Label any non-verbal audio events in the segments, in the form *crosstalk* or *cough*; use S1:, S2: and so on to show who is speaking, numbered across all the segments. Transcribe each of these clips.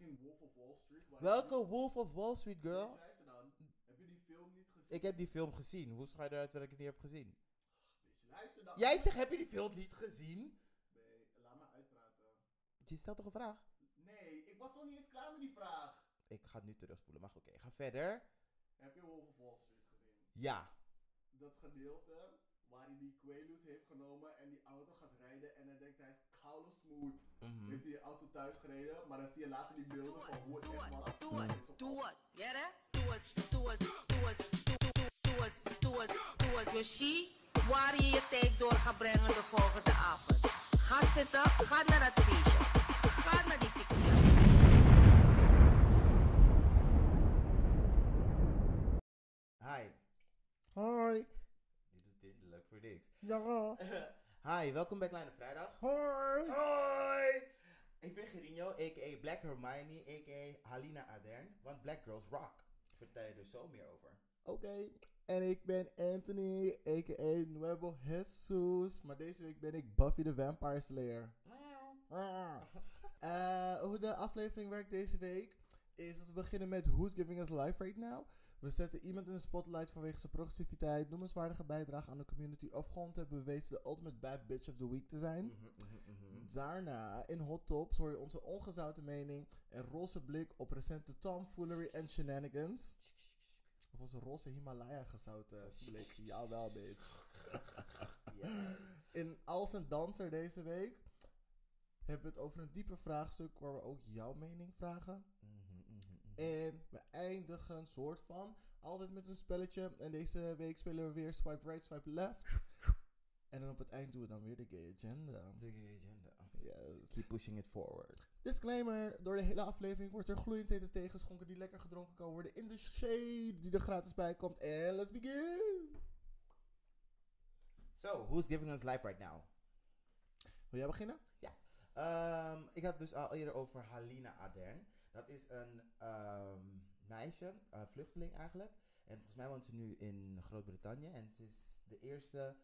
S1: Wall Street. waar
S2: Welke
S1: die-
S2: Wolf of Wall Street girl?
S1: Weet je, hij is gedaan. Heb je die film niet gezien?
S2: Ik heb die film gezien. Hoe ga je eruit dat ik het niet heb gezien?
S1: Weet je, luister dan.
S2: Jij zegt, heb je die film niet gezien?
S1: Nee, laat me uitpraten.
S2: Je stelt toch een vraag?
S1: Nee, ik was nog niet eens klaar met die vraag.
S2: Ik ga het nu terugspoelen, maar goed, oké. ga verder.
S1: Heb je Wolf of Wall Street gezien?
S2: Ja.
S1: Dat gedeelte waar hij die Quaalude heeft genomen en die auto gaat rijden en hij denkt hij is koude smooth.
S2: Mhm.
S1: Heeft hij die auto thuis gereden, maar dan zie je later die beelden van hoe het echt was.
S3: Do
S1: Dus het is
S3: it,
S1: op-
S3: do it, yeah that? Do it, do it, do it, do it, do it, do it, do it. Yoshi, waar je je tijd door gaat brengen de volgende avond. Ga zitten, ga naar dat feestje. Ga naar die tequila.
S2: Hi.
S4: Hoi.
S2: Dit is dit leuk voor niks.
S4: Ja.
S2: Hi, welkom bij Kleine Vrijdag.
S4: Hoi.
S2: Hoi! Ik ben Gerinho, a.k.a. Black Hermione, a.k.a. Halina Ardern, want Black Girls Rock. Vertel je er zo meer over.
S4: Oké, en ik ben Anthony, a.k.a. Nuevo Jesus. Maar deze week ben ik Buffy the Vampire Slayer. Ah. Eh, hoe de aflevering werkt deze week is dat we beginnen met Who's Giving Us Life Right Now. We zetten iemand in de spotlight vanwege zijn progressiviteit, noemenswaardige bijdrage aan de community of gewoon te hebben bewezen de ultimate bad bitch of the week te
S2: Mhm,
S4: zijn. Daarna, in Hot Tops, hoor je onze ongezouten mening en roze blik op recente tomfoolery en shenanigans. Of onze roze Himalaya gezouten blik. Jawel, bitch.
S2: Ja.
S4: In Als een Danser deze week hebben we het over een dieper vraagstuk waar we ook jouw mening vragen.
S2: mhm,
S4: En we eindigen een soort van altijd met een spelletje. En deze week spelen we weer Swipe Right, Swipe Left. En dan op het eind doen we dan weer de Gay Agenda.
S2: De agenda.
S4: Yes.
S2: Keep pushing it forward.
S4: Disclaimer, door de hele aflevering wordt er gloeiend eten tegengeschonken die lekker gedronken kan worden in de shade die er gratis bij komt. En let's begin!
S2: So, who's giving us life right now?
S4: Wil jij beginnen?
S2: Ja. Ehm, ik had dus al eerder over Halina Adern. Dat is een ehm, meisje, een vluchteling eigenlijk. En volgens mij woont ze nu in Groot-Brittannië. En ze is de eerste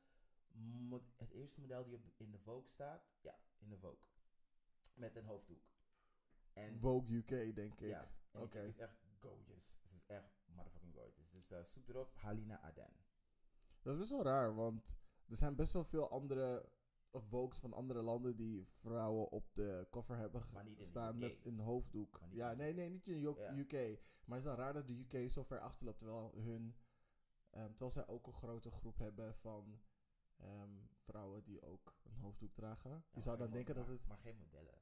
S2: mo- het eerste model die op, in de Vogue staat. Ja, in de Vogue. Met een hoofddoek. En
S4: Vogue UK, denk ik.
S2: ja, en
S4: Oké.
S2: die chick is echt gorgeous. Ze is echt motherfucking gorgeous. Dus eh, zoek erop, Halina Adern.
S4: Dat is best wel raar, want er zijn best wel veel andere of Vogues van andere landen die vrouwen op de cover hebben
S2: Maar niet in de
S4: gestaan
S2: UK.
S4: met een hoofddoek.
S2: Maar niet
S4: Ja,
S2: in de
S4: nee, nee, niet in de
S2: Ja.
S4: UK. Maar het is dan raar dat de UK zo ver achterloopt, terwijl hun, ehm, terwijl zij ook een grote groep hebben van ehm, vrouwen die ook een hoofddoek dragen. je
S2: Ja,
S4: zou
S2: maar
S4: dan
S2: geen
S4: denken
S2: mo-
S4: dat het,
S2: Maar geen modellen.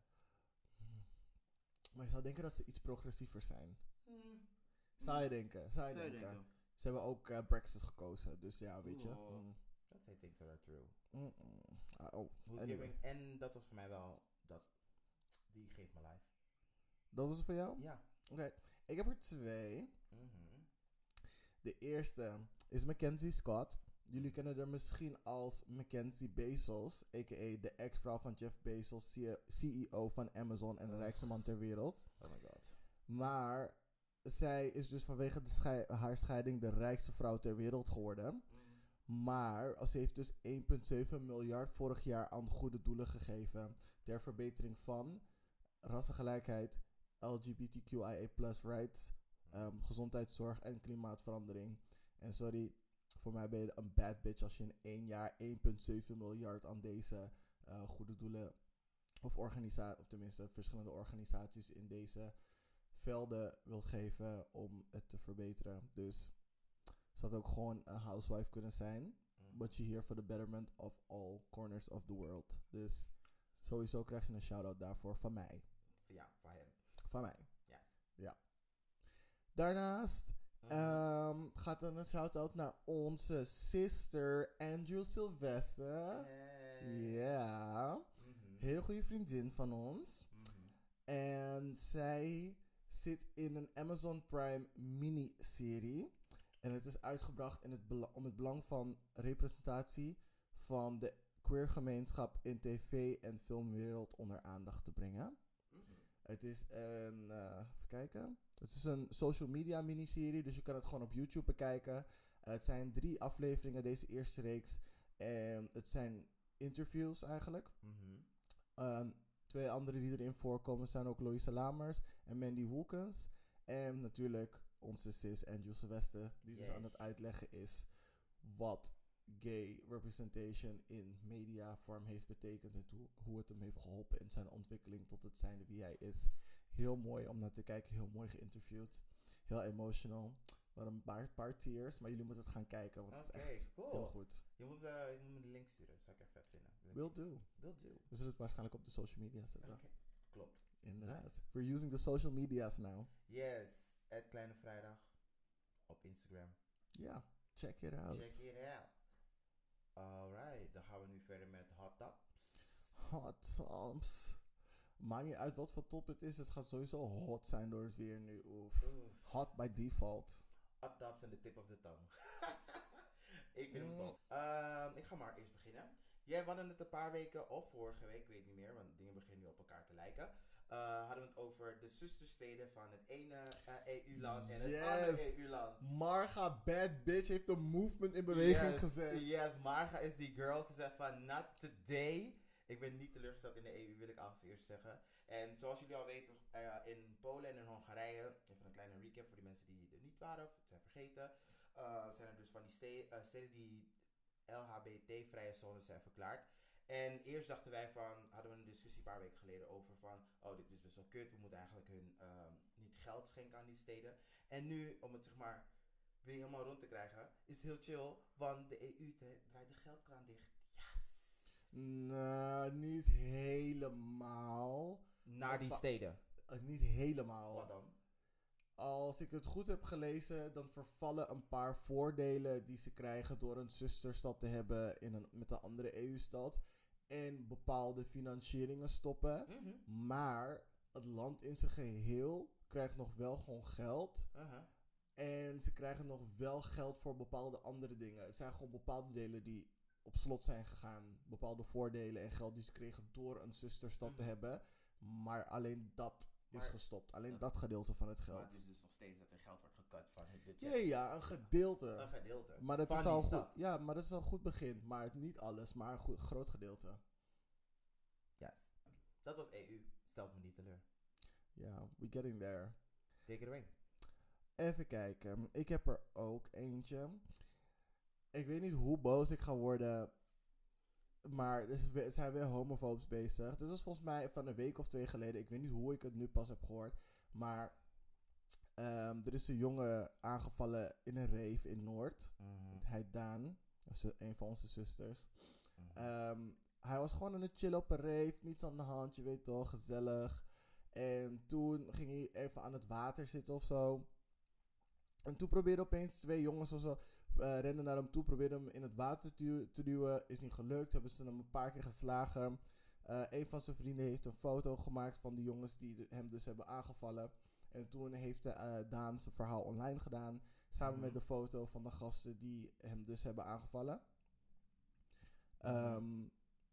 S4: maar je zou denken dat ze iets progressiever zijn.
S1: Hmm.
S4: Zou je denken? Zou je
S2: Mm. Zou je
S4: denken?
S2: denken.
S4: Ze hebben ook eh, Brexit gekozen, dus ja, weet je.
S2: Oh.
S4: Mm.
S2: Don't say things that are true.
S4: Mm, mm. Ah, oh,
S2: Who's
S4: anyway.
S2: giving- En dat was voor mij wel dat. Die geeft me life.
S4: Dat was het voor jou?
S2: Ja.
S4: Oké, ik heb er twee.
S2: Mhm.
S4: De eerste is Mackenzie Scott. Jullie kennen haar misschien als Mackenzie Bezos, a.k.a. de ex-vrouw van Jeff Bezos, E CEO van Amazon en de rijkste man ter wereld.
S2: Oh my god.
S4: Maar zij is dus vanwege de schei- haar scheiding de rijkste vrouw ter wereld geworden.
S2: Mm,
S4: Maar eh, ze heeft dus 1,7 miljard vorig jaar aan goede doelen gegeven. Ter verbetering van rassengelijkheid, LGBTQIA rights, ehm, gezondheidszorg en klimaatverandering. En sorry, voor mij ben je een bad bitch als je in één jaar 1,7 miljard aan deze eh, goede doelen... Of, organisa- of tenminste verschillende organisaties in deze velden wilt geven om het te verbeteren. Dus ze had ook gewoon een housewife kunnen zijn.
S2: Mm.
S4: But she here for the betterment of all corners of the world. Dus sowieso krijg je een shout-out daarvoor van mij.
S2: Ja, van hem.
S4: Van mij.
S2: Ja. Mhm.
S4: Ja. Daarnaast ehm, gaat dan een shout-out naar onze sister Andrew Sylvester.
S2: Hey.
S4: Ja.
S2: Eh, Mhm.
S4: Hele goede vriendin van ons. En zij zit in een Amazon Prime miniserie. En het is uitgebracht in het bela- om het belang van representatie van de queer gemeenschap in tv- en filmwereld onder aandacht te brengen. Het is een, eh, even kijken. Het is een social media miniserie, dus je kan het gewoon op YouTube bekijken. Eh, het zijn drie afleveringen, deze eerste reeks. En het zijn interviews eigenlijk.
S2: Mhm.
S4: Ehm, Twee anderen die erin voorkomen zijn ook Loïse Lamers en Mandy Wilkins. En natuurlijk onze sis Angel Sylvester, die dus aan
S2: Yes.
S4: het uitleggen is wat gay representation in mediavorm heeft betekend en hoe, hoe het hem heeft geholpen in zijn ontwikkeling tot het zijnde wie hij is. Heel mooi om naar te kijken, heel mooi geïnterviewd, heel emotional. Wat een paar, paar tears, maar jullie moeten het gaan kijken, want het
S2: Oké,
S4: is echt
S2: cool.
S4: heel goed.
S2: Je moet, eh, je moet me de link sturen, zou ik echt vet vinden. Wil ik
S4: Will
S2: zien.
S4: do.
S2: Will do.
S4: We zullen het waarschijnlijk op de social media zetten.
S2: Oké, Klopt.
S4: Inderdaad. We're using the social media's now.
S2: Yes, het Kleine Vrijdag op Instagram.
S4: Ja, check it out.
S2: Check it out. Alright, dan gaan we nu verder met Hot Tops.
S4: Hot sauce. Maakt niet uit wat voor top het is, het gaat sowieso hot zijn door het weer nu. Oef.
S2: Oef.
S4: Hot by default.
S2: Hot Tops en de tip of the tongue. *laughs* ik vind hem
S4: Mm.
S2: tof. Ehm, ik ga maar eerst beginnen. Jij hadden het een paar weken, of vorige week, ik weet niet meer, want dingen beginnen nu op elkaar te lijken. Eh, hadden we het over de zustersteden van het ene eh, EU-land en het
S4: Yes.
S2: andere E EU-land.
S4: Marga Bad Bitch heeft de movement in beweging
S2: yes,
S4: gezet.
S2: Yes, Marga is die girl. Ze zegt van, not today. Ik ben niet teleurgesteld in de EU, wil ik als eerst zeggen. En zoals jullie al weten, eh, in Polen en in Hongarije, even een kleine recap voor die mensen die er niet waren of het zijn vergeten, eh, zijn er dus van die ste- eh, steden die LHBT-vrije zones zijn verklaard. En eerst dachten wij van, hadden we een discussie een paar weken geleden over van, oh dit is best wel kut, we moeten eigenlijk hun ehm, niet geld schenken aan die steden. En nu, om het zeg maar weer helemaal rond te krijgen, is het heel chill, want de EU tra- draait de geldkraan dicht. Yes!
S4: Nou, niet helemaal.
S2: Naar die
S4: Wat-
S2: steden.
S4: Eh, niet helemaal.
S2: Wat dan?
S4: Als ik het goed heb gelezen, dan vervallen een paar voordelen die ze krijgen door een zusterstad te hebben in een, met een andere EU-stad. En bepaalde financieringen stoppen.
S2: Mhm,
S4: Maar het land in zijn geheel krijgt nog wel gewoon geld.
S2: Uh-huh.
S4: En ze krijgen nog wel geld voor bepaalde andere dingen. Het zijn gewoon bepaalde delen die op slot zijn gegaan. Bepaalde voordelen en geld die ze kregen door een zusterstad te
S2: Mhm.
S4: hebben. Maar alleen dat
S2: Maar-
S4: is gestopt. Alleen
S2: Ja.
S4: dat gedeelte van het
S2: Maar het
S4: geld.
S2: is dus nog steeds dat er geld wordt gekut van het budget.
S4: Ja, ja, een gedeelte.
S2: Een gedeelte.
S4: Maar dat,
S2: van
S4: is al een
S2: die
S4: goed,
S2: stad.
S4: ja, maar dat is al een goed begin. Maar het- niet alles, maar een goed, groot gedeelte.
S2: Yes. Dat was E EU. Stelt me niet teleur.
S4: Ja, we getting there.
S2: Take it away.
S4: Even kijken. Ik heb er ook eentje. Ik weet niet hoe boos ik ga worden. Maar er is we- er zijn weer homofoobs bezig. Dit was volgens mij van een week of twee geleden. Ik weet niet hoe ik het nu pas heb gehoord. Maar ehm, er is een jongen aangevallen in een rave in Noord.
S2: Mhm.
S4: Hij heet Daan. Dat is Een van onze zusters. Ehm, hij was gewoon aan het chillen op een rave. Niets aan de hand, je weet toch, gezellig. En toen ging hij even aan het water zitten of zo. En toen probeerden opeens twee jongens of zo. eh renden naar hem toe, probeerden hem in het water te, duw- te duwen. Is niet gelukt, hebben ze hem een paar keer geslagen. Eh, een van zijn vrienden heeft een foto gemaakt van de jongens die de- hem dus hebben aangevallen. En toen heeft de, eh, Daan zijn verhaal online gedaan. Samen
S2: Mhm.
S4: met de foto van de gasten die hem dus hebben aangevallen. Ehm,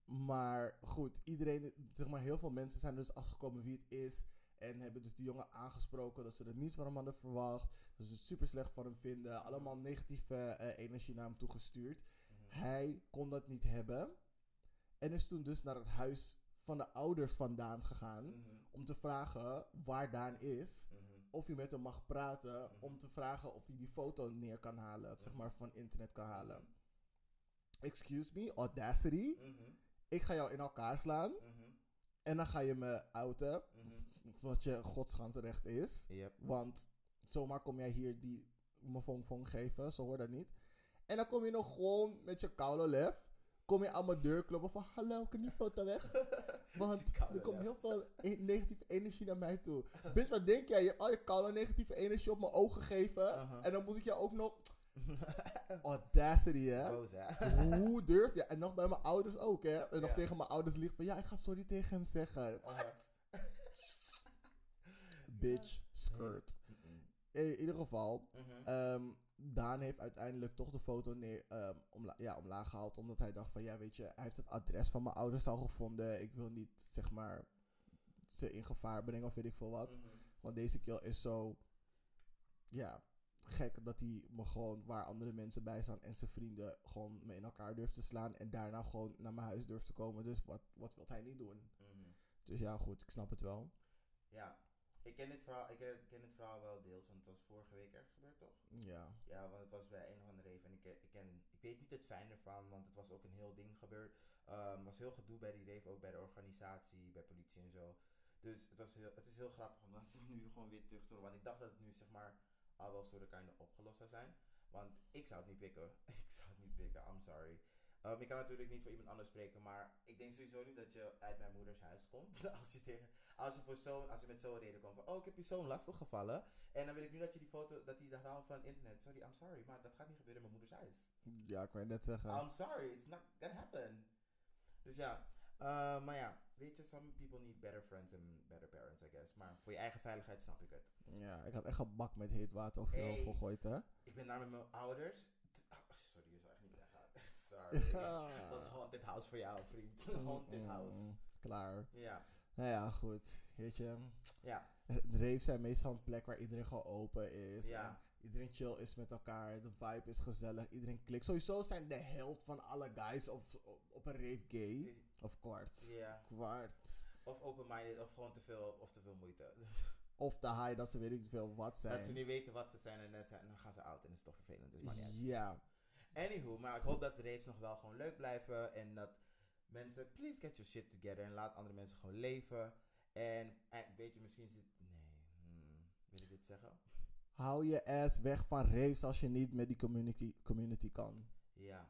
S4: maar goed, iedereen, zeg maar heel veel mensen zijn er dus afgekomen wie het is. En hebben dus die jongen aangesproken dat ze er niet van hem hadden verwacht. Dat ze Dus het super slecht van hem vinden. Allemaal negatieve eh, energie naar hem toegestuurd. Hij kon dat niet hebben. En is toen dus naar het huis van de ouders van Daan
S2: Mhm.
S4: gegaan. Om te vragen waar Daan is. Of hij met hem mag praten. Om te vragen of hij die foto neer kan halen. Zeg maar van internet kan halen. Excuse me, audacity.
S2: Mhm,
S4: Ik ga jou in elkaar slaan. En dan ga je me outen.
S2: mhm.
S4: Wat je godsganse recht is.
S2: Yep.
S4: Want zomaar kom jij hier die mofongfong geven, zo hoor dat niet. En dan kom je nog gewoon met je koude lef. Kom je aan mijn deur kloppen van hallo, kan die foto weg? Want
S2: *laughs* Je koude
S4: er komt
S2: lef.
S4: heel veel e- negatieve energie naar mij toe. Bitch, wat denk jij? Je hebt al je koude negatieve energie op mijn ogen gegeven.
S2: Aha.
S4: En dan moet ik jou ook
S2: *laughs*
S4: nog... Audacity, hè?
S2: Boos, *laughs* hè?
S4: *laughs* Hoe durf je? En nog bij mijn ouders ook, hè? En nog
S2: Ja.
S4: tegen mijn ouders liegen van... Ja, ik ga sorry tegen hem zeggen.
S2: Wat?
S4: Bitch, skirt.
S2: Mhm.
S4: In ieder geval... Ehm, Daan heeft uiteindelijk toch de foto neer, ehm, omla- ja, omlaag gehaald. Omdat hij dacht van, ja weet je, hij heeft het adres van mijn ouders al gevonden. Ik wil niet, zeg maar, ze in gevaar brengen of weet ik veel wat.
S2: Mhm,
S4: Want deze kill is zo, ja, gek dat hij me gewoon waar andere mensen bij staan en zijn vrienden gewoon me in elkaar durft te slaan. En daarna gewoon naar mijn huis durft te komen. Dus wat, wat wil hij niet doen? Dus ja, goed, ik snap het wel.
S2: mhm. Ja, ik ken dit verhaal, ik ken, ken dit verhaal wel deels, want het was vorige week ergens gebeurd, toch?
S4: Ja.
S2: Ja, want het was bij een of andere rave en ik, ken- ik, ken, ik weet niet het fijne ervan, want het was ook een heel ding gebeurd. Er was heel gedoe bij die rave, ook bij de organisatie, bij politie en zo. Dus het, was heel, het is heel grappig om dat *laughs* nu gewoon weer terug te horen, want ik dacht dat het nu zeg maar al wel soort kinder opgelost zou zijn. Want ik zou het niet pikken, *laughs* ik zou het niet pikken, I'm sorry. Ehm, ik kan natuurlijk niet voor iemand anders spreken, maar ik denk sowieso niet dat je uit mijn moeders huis komt. *laughs* Als je, tegen, als je, voor zo'n- als je met zo'n reden komt van, oh ik heb je zoon lastig gevallen. En dan wil ik nu dat je die foto, dat die dat haalt van internet. Sorry, I'm sorry, maar dat gaat niet gebeuren in mijn moeders huis.
S4: Ja, ik wou je net zeggen.
S2: I'm sorry, it's not gonna happen. Dus ja, eh, maar ja, weet je, some people need better friends and better parents, I guess. Maar voor je eigen veiligheid snap ik het.
S4: ja, ik had echt een bak met heet water over
S2: Hey.
S4: hey. gegooid, hè?
S2: Ik ben daar met mijn ouders. T- ah, sorry, je zou echt niet weggaan. *laughs*
S4: *laughs*
S2: Sorry. Dat is haunted house voor jou, vriend. haunted house.
S4: Mm, Klaar.
S2: Ja,
S4: Nou ja, goed. Weet je,
S2: ja,
S4: de raves zijn meestal een plek waar iedereen gewoon open is.
S2: ja.
S4: en Iedereen chill is met elkaar, de vibe is gezellig, iedereen klikt. Sowieso zijn de helft van alle guys op, op, op een rave gay. Of kwart.
S2: Ja.
S4: Kwart.
S2: Of open-minded, of gewoon te veel, of te veel moeite. *laughs*
S4: Of te high dat ze weet ik veel wat zijn.
S2: Dat ze nu weten wat ze zijn en dan, zijn, dan gaan ze oud en dat is toch vervelend. Dus maar niet uit.
S4: ja,
S2: Anywho, maar ik hoop dat de raves nog wel gewoon leuk blijven. En dat mensen, please get your shit together. En laat andere mensen gewoon leven. En, en weet je, misschien zit... Nee, hmm, wil ik dit zeggen?
S4: hou je ass weg van raves als je niet met die community, community kan.
S2: Ja.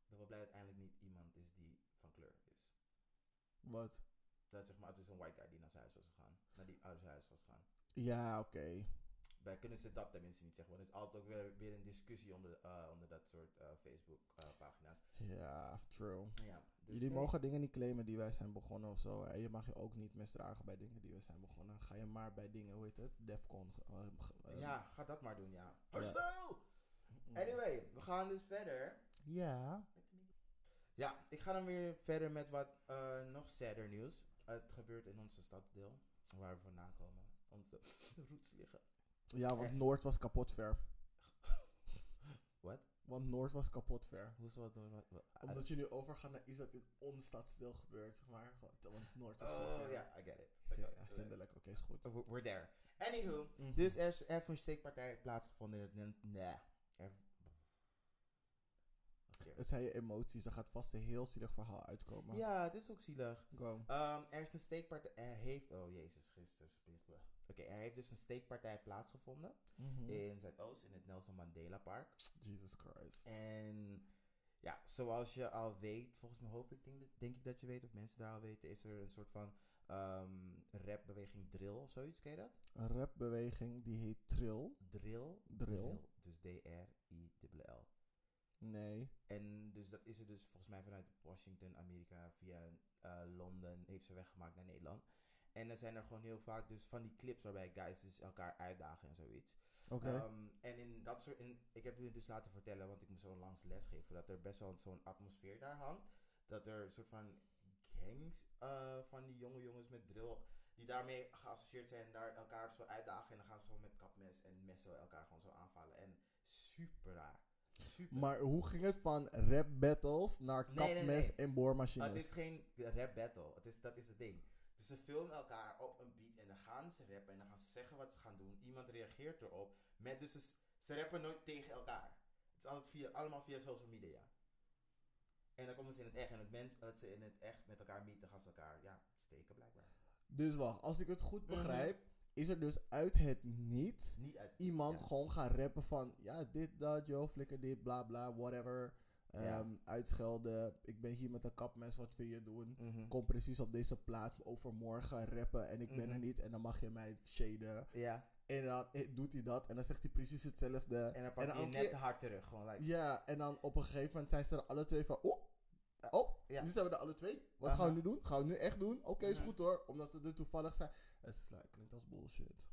S2: Ik ben wel blij dat eindelijk niet iemand is die van kleur is.
S4: Wat?
S2: Dat zeg maar, het is een white guy die naar zijn huis was gegaan. Naar die ouders huis was gegaan.
S4: Ja, oké.
S2: Wij kunnen ze dat tenminste niet zeggen. Want er is altijd ook weer, weer een discussie onder, eh, onder dat soort Facebook-pagina's.
S4: Ja, true.
S2: ja, dus
S4: Jullie
S2: hey.
S4: mogen dingen niet claimen die wij zijn begonnen of zo. hè. Je mag je ook niet misdragen bij dingen die we zijn begonnen. Ga je maar bij dingen, hoe heet het? Defcon. eh, ge- eh,
S2: Ja, ga dat maar doen, Ehm, ja. Herstel! Anyway, we gaan dus verder.
S4: Ja.
S2: Ja, ik ga dan weer verder met wat eh, nog sadder nieuws. Het gebeurt in onze stadsdeel, waar we vandaan komen. Onze *laughs* roots liggen.
S4: Ja, want
S2: Echt.
S4: Noord was kapot ver.
S2: *laughs* Wat? Ah,
S4: Want Noord was kapot ver.
S2: Hoe zal het doen? Wat- wat-
S4: Omdat je nu overgaat naar iets dat in ons stadsdeel gebeurt, zeg maar. Want- Want Noord was zo
S2: Oh,
S4: ver.
S2: ja, I get it.
S4: Ja,
S2: Okay.
S4: ja, hinderlijk. Oké, is goed.
S2: We're- We're there. Anywho,
S4: Mhm.
S2: dus er is even een steekpartij plaatsgevonden in het... Nee. Er- Oké.
S4: Het zijn je emoties. Er gaat vast een heel zielig verhaal uitkomen.
S2: Ja, het is ook zielig.
S4: Go.
S2: Ehm, er is een steekpartij... Er heeft... Oh, Jezus Christus. Oké, er heeft dus een steekpartij plaatsgevonden in Zuidoost, in het Nelson Mandela Park.
S4: Jesus Christ.
S2: Eh. En ja, zoals je al weet, volgens mij hoop ik, denk, denk ik dat je weet, of mensen daar al weten, is er een soort van ehm rapbeweging drill of zoiets, ken je dat?
S4: Een rapbeweging die heet Trill.
S2: Drill.
S4: Drill?
S2: Dus D-R-I-L-L.
S4: Nee.
S2: En dus dat is er dus volgens mij vanuit Washington, Amerika, via eh, Londen, heeft ze weggemaakt naar Nederland. En dan zijn er gewoon heel vaak dus van die clips waarbij guys dus elkaar uitdagen en zoiets.
S4: Oké.
S2: Ehm, en in dat soort. In, ik heb u dus laten vertellen, want ik moest zo langs les geven, dat er best wel zo'n atmosfeer daar hangt. Dat er een soort van gangs eh, van die jonge jongens met drill. die daarmee geassocieerd zijn en daar elkaar zo uitdagen. En dan gaan ze gewoon met kapmes en messen elkaar gewoon zo aanvallen. En super raar. Super
S4: Maar hoe ging het van rap battles naar
S2: Nee,
S4: kapmes
S2: nee, nee.
S4: en
S2: Ah,
S4: boormachines?
S2: het is geen rap battle. Het is, dat is het ding. Dus ze filmen elkaar op een beat en dan gaan ze rappen en dan gaan ze zeggen wat ze gaan doen. Iemand reageert erop. Met dus ze, ze rappen nooit tegen elkaar. Het is altijd via, allemaal via social media. En dan komen ze in het echt. En op het moment dat ze in het echt met elkaar meeten, gaan ze elkaar ja, steken blijkbaar.
S4: Dus wacht, als ik het goed
S2: Mhm.
S4: begrijp, is er dus uit het niets
S2: Niet uit
S4: iemand
S2: Ja.
S4: gewoon gaan rappen van ja, dit, dat, joh, flikker dit, bla bla, whatever.
S2: Ja.
S4: Ehm, Uitschelden, ik ben hier met een kapmes, wat wil je doen?
S2: Mhm.
S4: Kom precies op deze plaats overmorgen rappen en ik ben er
S2: Mhm.
S4: niet en dan mag je mij shaden.
S2: Ja,
S4: En dan eh, doet hij dat en dan zegt hij precies hetzelfde.
S2: en dan pak
S4: En
S2: je
S4: dan ook
S2: net
S4: je-
S2: hard terug. Gewoon like,
S4: Ja, en dan op een gegeven moment zijn ze er alle twee van. Oh, oh
S2: ja.
S4: nu zijn we er alle twee. Wat
S2: Aha.
S4: gaan we nu doen? Gaan we nu echt doen? Oké, is
S2: Mhm.
S4: goed hoor. Omdat ze er toevallig zijn. Het is, like, klinkt als bullshit.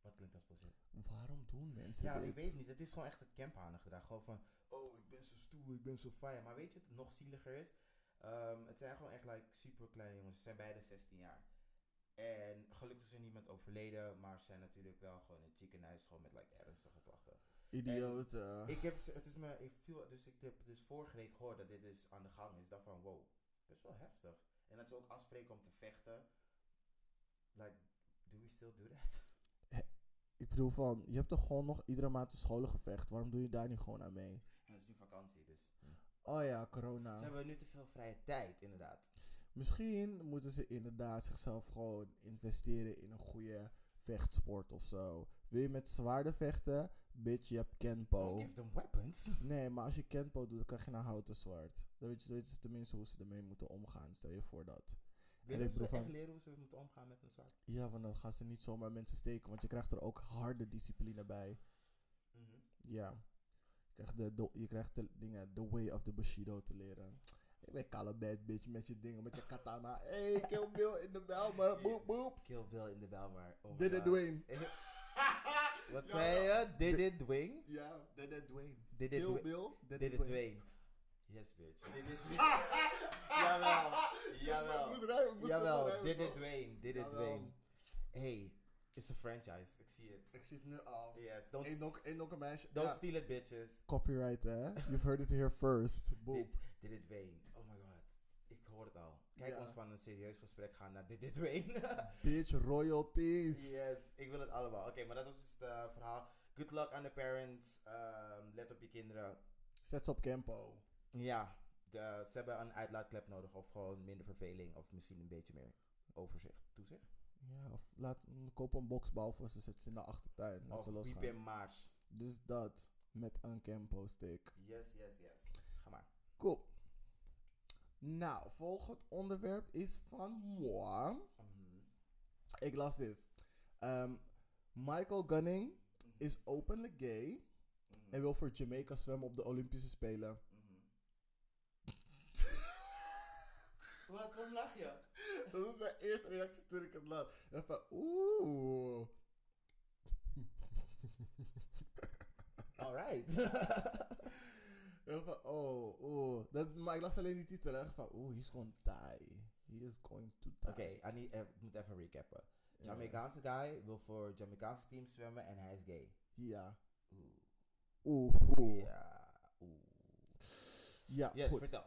S2: Wat klinkt als bullshit?
S4: Waarom doen mensen
S2: Ja,
S4: dit?
S2: ik weet niet. Het is gewoon echt het camphanen gedrag. Gewoon van, oh, ik ben zo stoer, ik ben zo fire. Maar weet je wat nog zieliger is? Ehm, het zijn gewoon echt like, super kleine jongens. Ze zijn beide 16 jaar. En gelukkig is er niemand overleden, maar ze zijn natuurlijk wel gewoon in het ziekenhuis, gewoon met like, ernstige klachten.
S4: Idioot. eh.
S2: Ik heb, het is me, ik viel, dus ik heb dus vorige week gehoord dat dit dus aan de gang is. Ik dacht van, wow, best wel heftig. En dat ze ook afspreken om te vechten, Like, do we still do that? *laughs*
S4: Ik bedoel van, je hebt toch gewoon nog iedere maand een scholengevecht. Waarom doe je daar niet gewoon aan mee?
S2: En het is nu vakantie, dus.
S4: Oh ja,
S2: Ze
S4: corona.
S2: hebben nu te veel vrije tijd, inderdaad.
S4: Misschien moeten ze inderdaad zichzelf gewoon investeren in een goede vechtsport of zo. Wil je met zwaarden vechten? Bitch, je hebt
S2: Don't
S4: kenpo.
S2: Give them weapons.
S4: Nee, maar als je kenpo doet, dan krijg je een houten zwaard. Dan weet je, dan weten ze tenminste hoe ze ermee moeten omgaan. Stel je voor dat.
S2: Willen ze
S4: bedoel van-
S2: echt leren hoe ze moeten omgaan met een zwaard?
S4: Ja, want dan gaan ze niet zomaar mensen steken, want je krijgt er ook harde discipline bij.
S1: Mhm.
S4: Ja. Je krijgt de, de- je krijgt de dingen, the way of the Bushido te leren. Ik ben kale bad bitch met je dingen, met je katana. Hey, kill Bill in de bel, maar boep boep.
S2: Kill Bill in de bel, maar... oh my
S4: Dit is
S2: God.
S4: Dwayne.
S2: *laughs* Wat
S1: Ja,
S2: zei je? Did it Dwayne?
S1: Ja, dat is Dwayne.
S2: Did it
S1: Kill
S2: Dwayne?
S1: Bill, dat
S2: Did
S1: is
S2: it Dwayne? Yes, bitch. Did *laughs* it Dwayne? *laughs* Jawel,
S1: Ik moest
S2: jawel.
S1: rijmen, ik moest zo
S2: Jawel,
S1: rijmen,
S2: Did it
S1: bro.
S2: Dwayne? Did it
S1: Jawel.
S2: Dwayne? Hey, it's a franchise. Ik zie het.
S1: Ik zie het nu al.
S2: Yes, don't,
S1: Eén ook, één ook een meisje.
S2: don't
S1: Ja.
S2: steal it, bitches.
S4: Copyright, hè? You've heard it here first. Boep.
S2: Did, did it Dwayne? Oh my god. Ik hoor het al. Kijk
S1: Ja.
S2: ons van een serieus gesprek gaan naar Did it Dwayne. *laughs*
S4: Bitch, royalties.
S2: Yes, ik wil het allemaal. Oké, maar dat was dus het eh, verhaal. Good luck aan de parents. Ehm, let op je kinderen.
S4: Zet ze op Campo.
S2: Ja, de- ze hebben een uitlaatklep nodig. Of gewoon minder verveling. Of misschien een beetje meer overzicht. Toezicht.
S4: Ja, of laat, koop een boxbal voor ze, zet ze in de achtertuin. Laat
S2: Of
S4: ze
S2: piep
S4: losgaan.
S2: in maart.
S4: Dus dat, met een Campo stick.
S2: Yes, yes, yes. Ga maar.
S4: Cool. Nou, volgend onderwerp is van moi.
S2: Mhm.
S4: Ik las dit. Ehm, Michael Gunning is openlijk gay en wil voor Jamaica zwemmen op de Olympische Spelen.
S2: Wat, waarom lach je?
S4: Dat was mijn eerste reactie toen ik het las. Ik dacht van, oeh.
S2: Alright.
S4: *laughs* Ik dacht van, oh, oeh. Dat, maar ik las alleen die titel en ik dacht van, oeh, he's going to die. He is going to die.
S2: Oké, I need- eh, ik moet even recappen.
S4: Ja.
S2: Jamaicaanse guy wil voor Jamaicaanse team zwemmen en hij is gay.
S4: Ja.
S2: Oeh.
S4: Oeh. oeh. Ja,
S2: Ja, oeh. Yes,
S4: goed.
S2: vertel.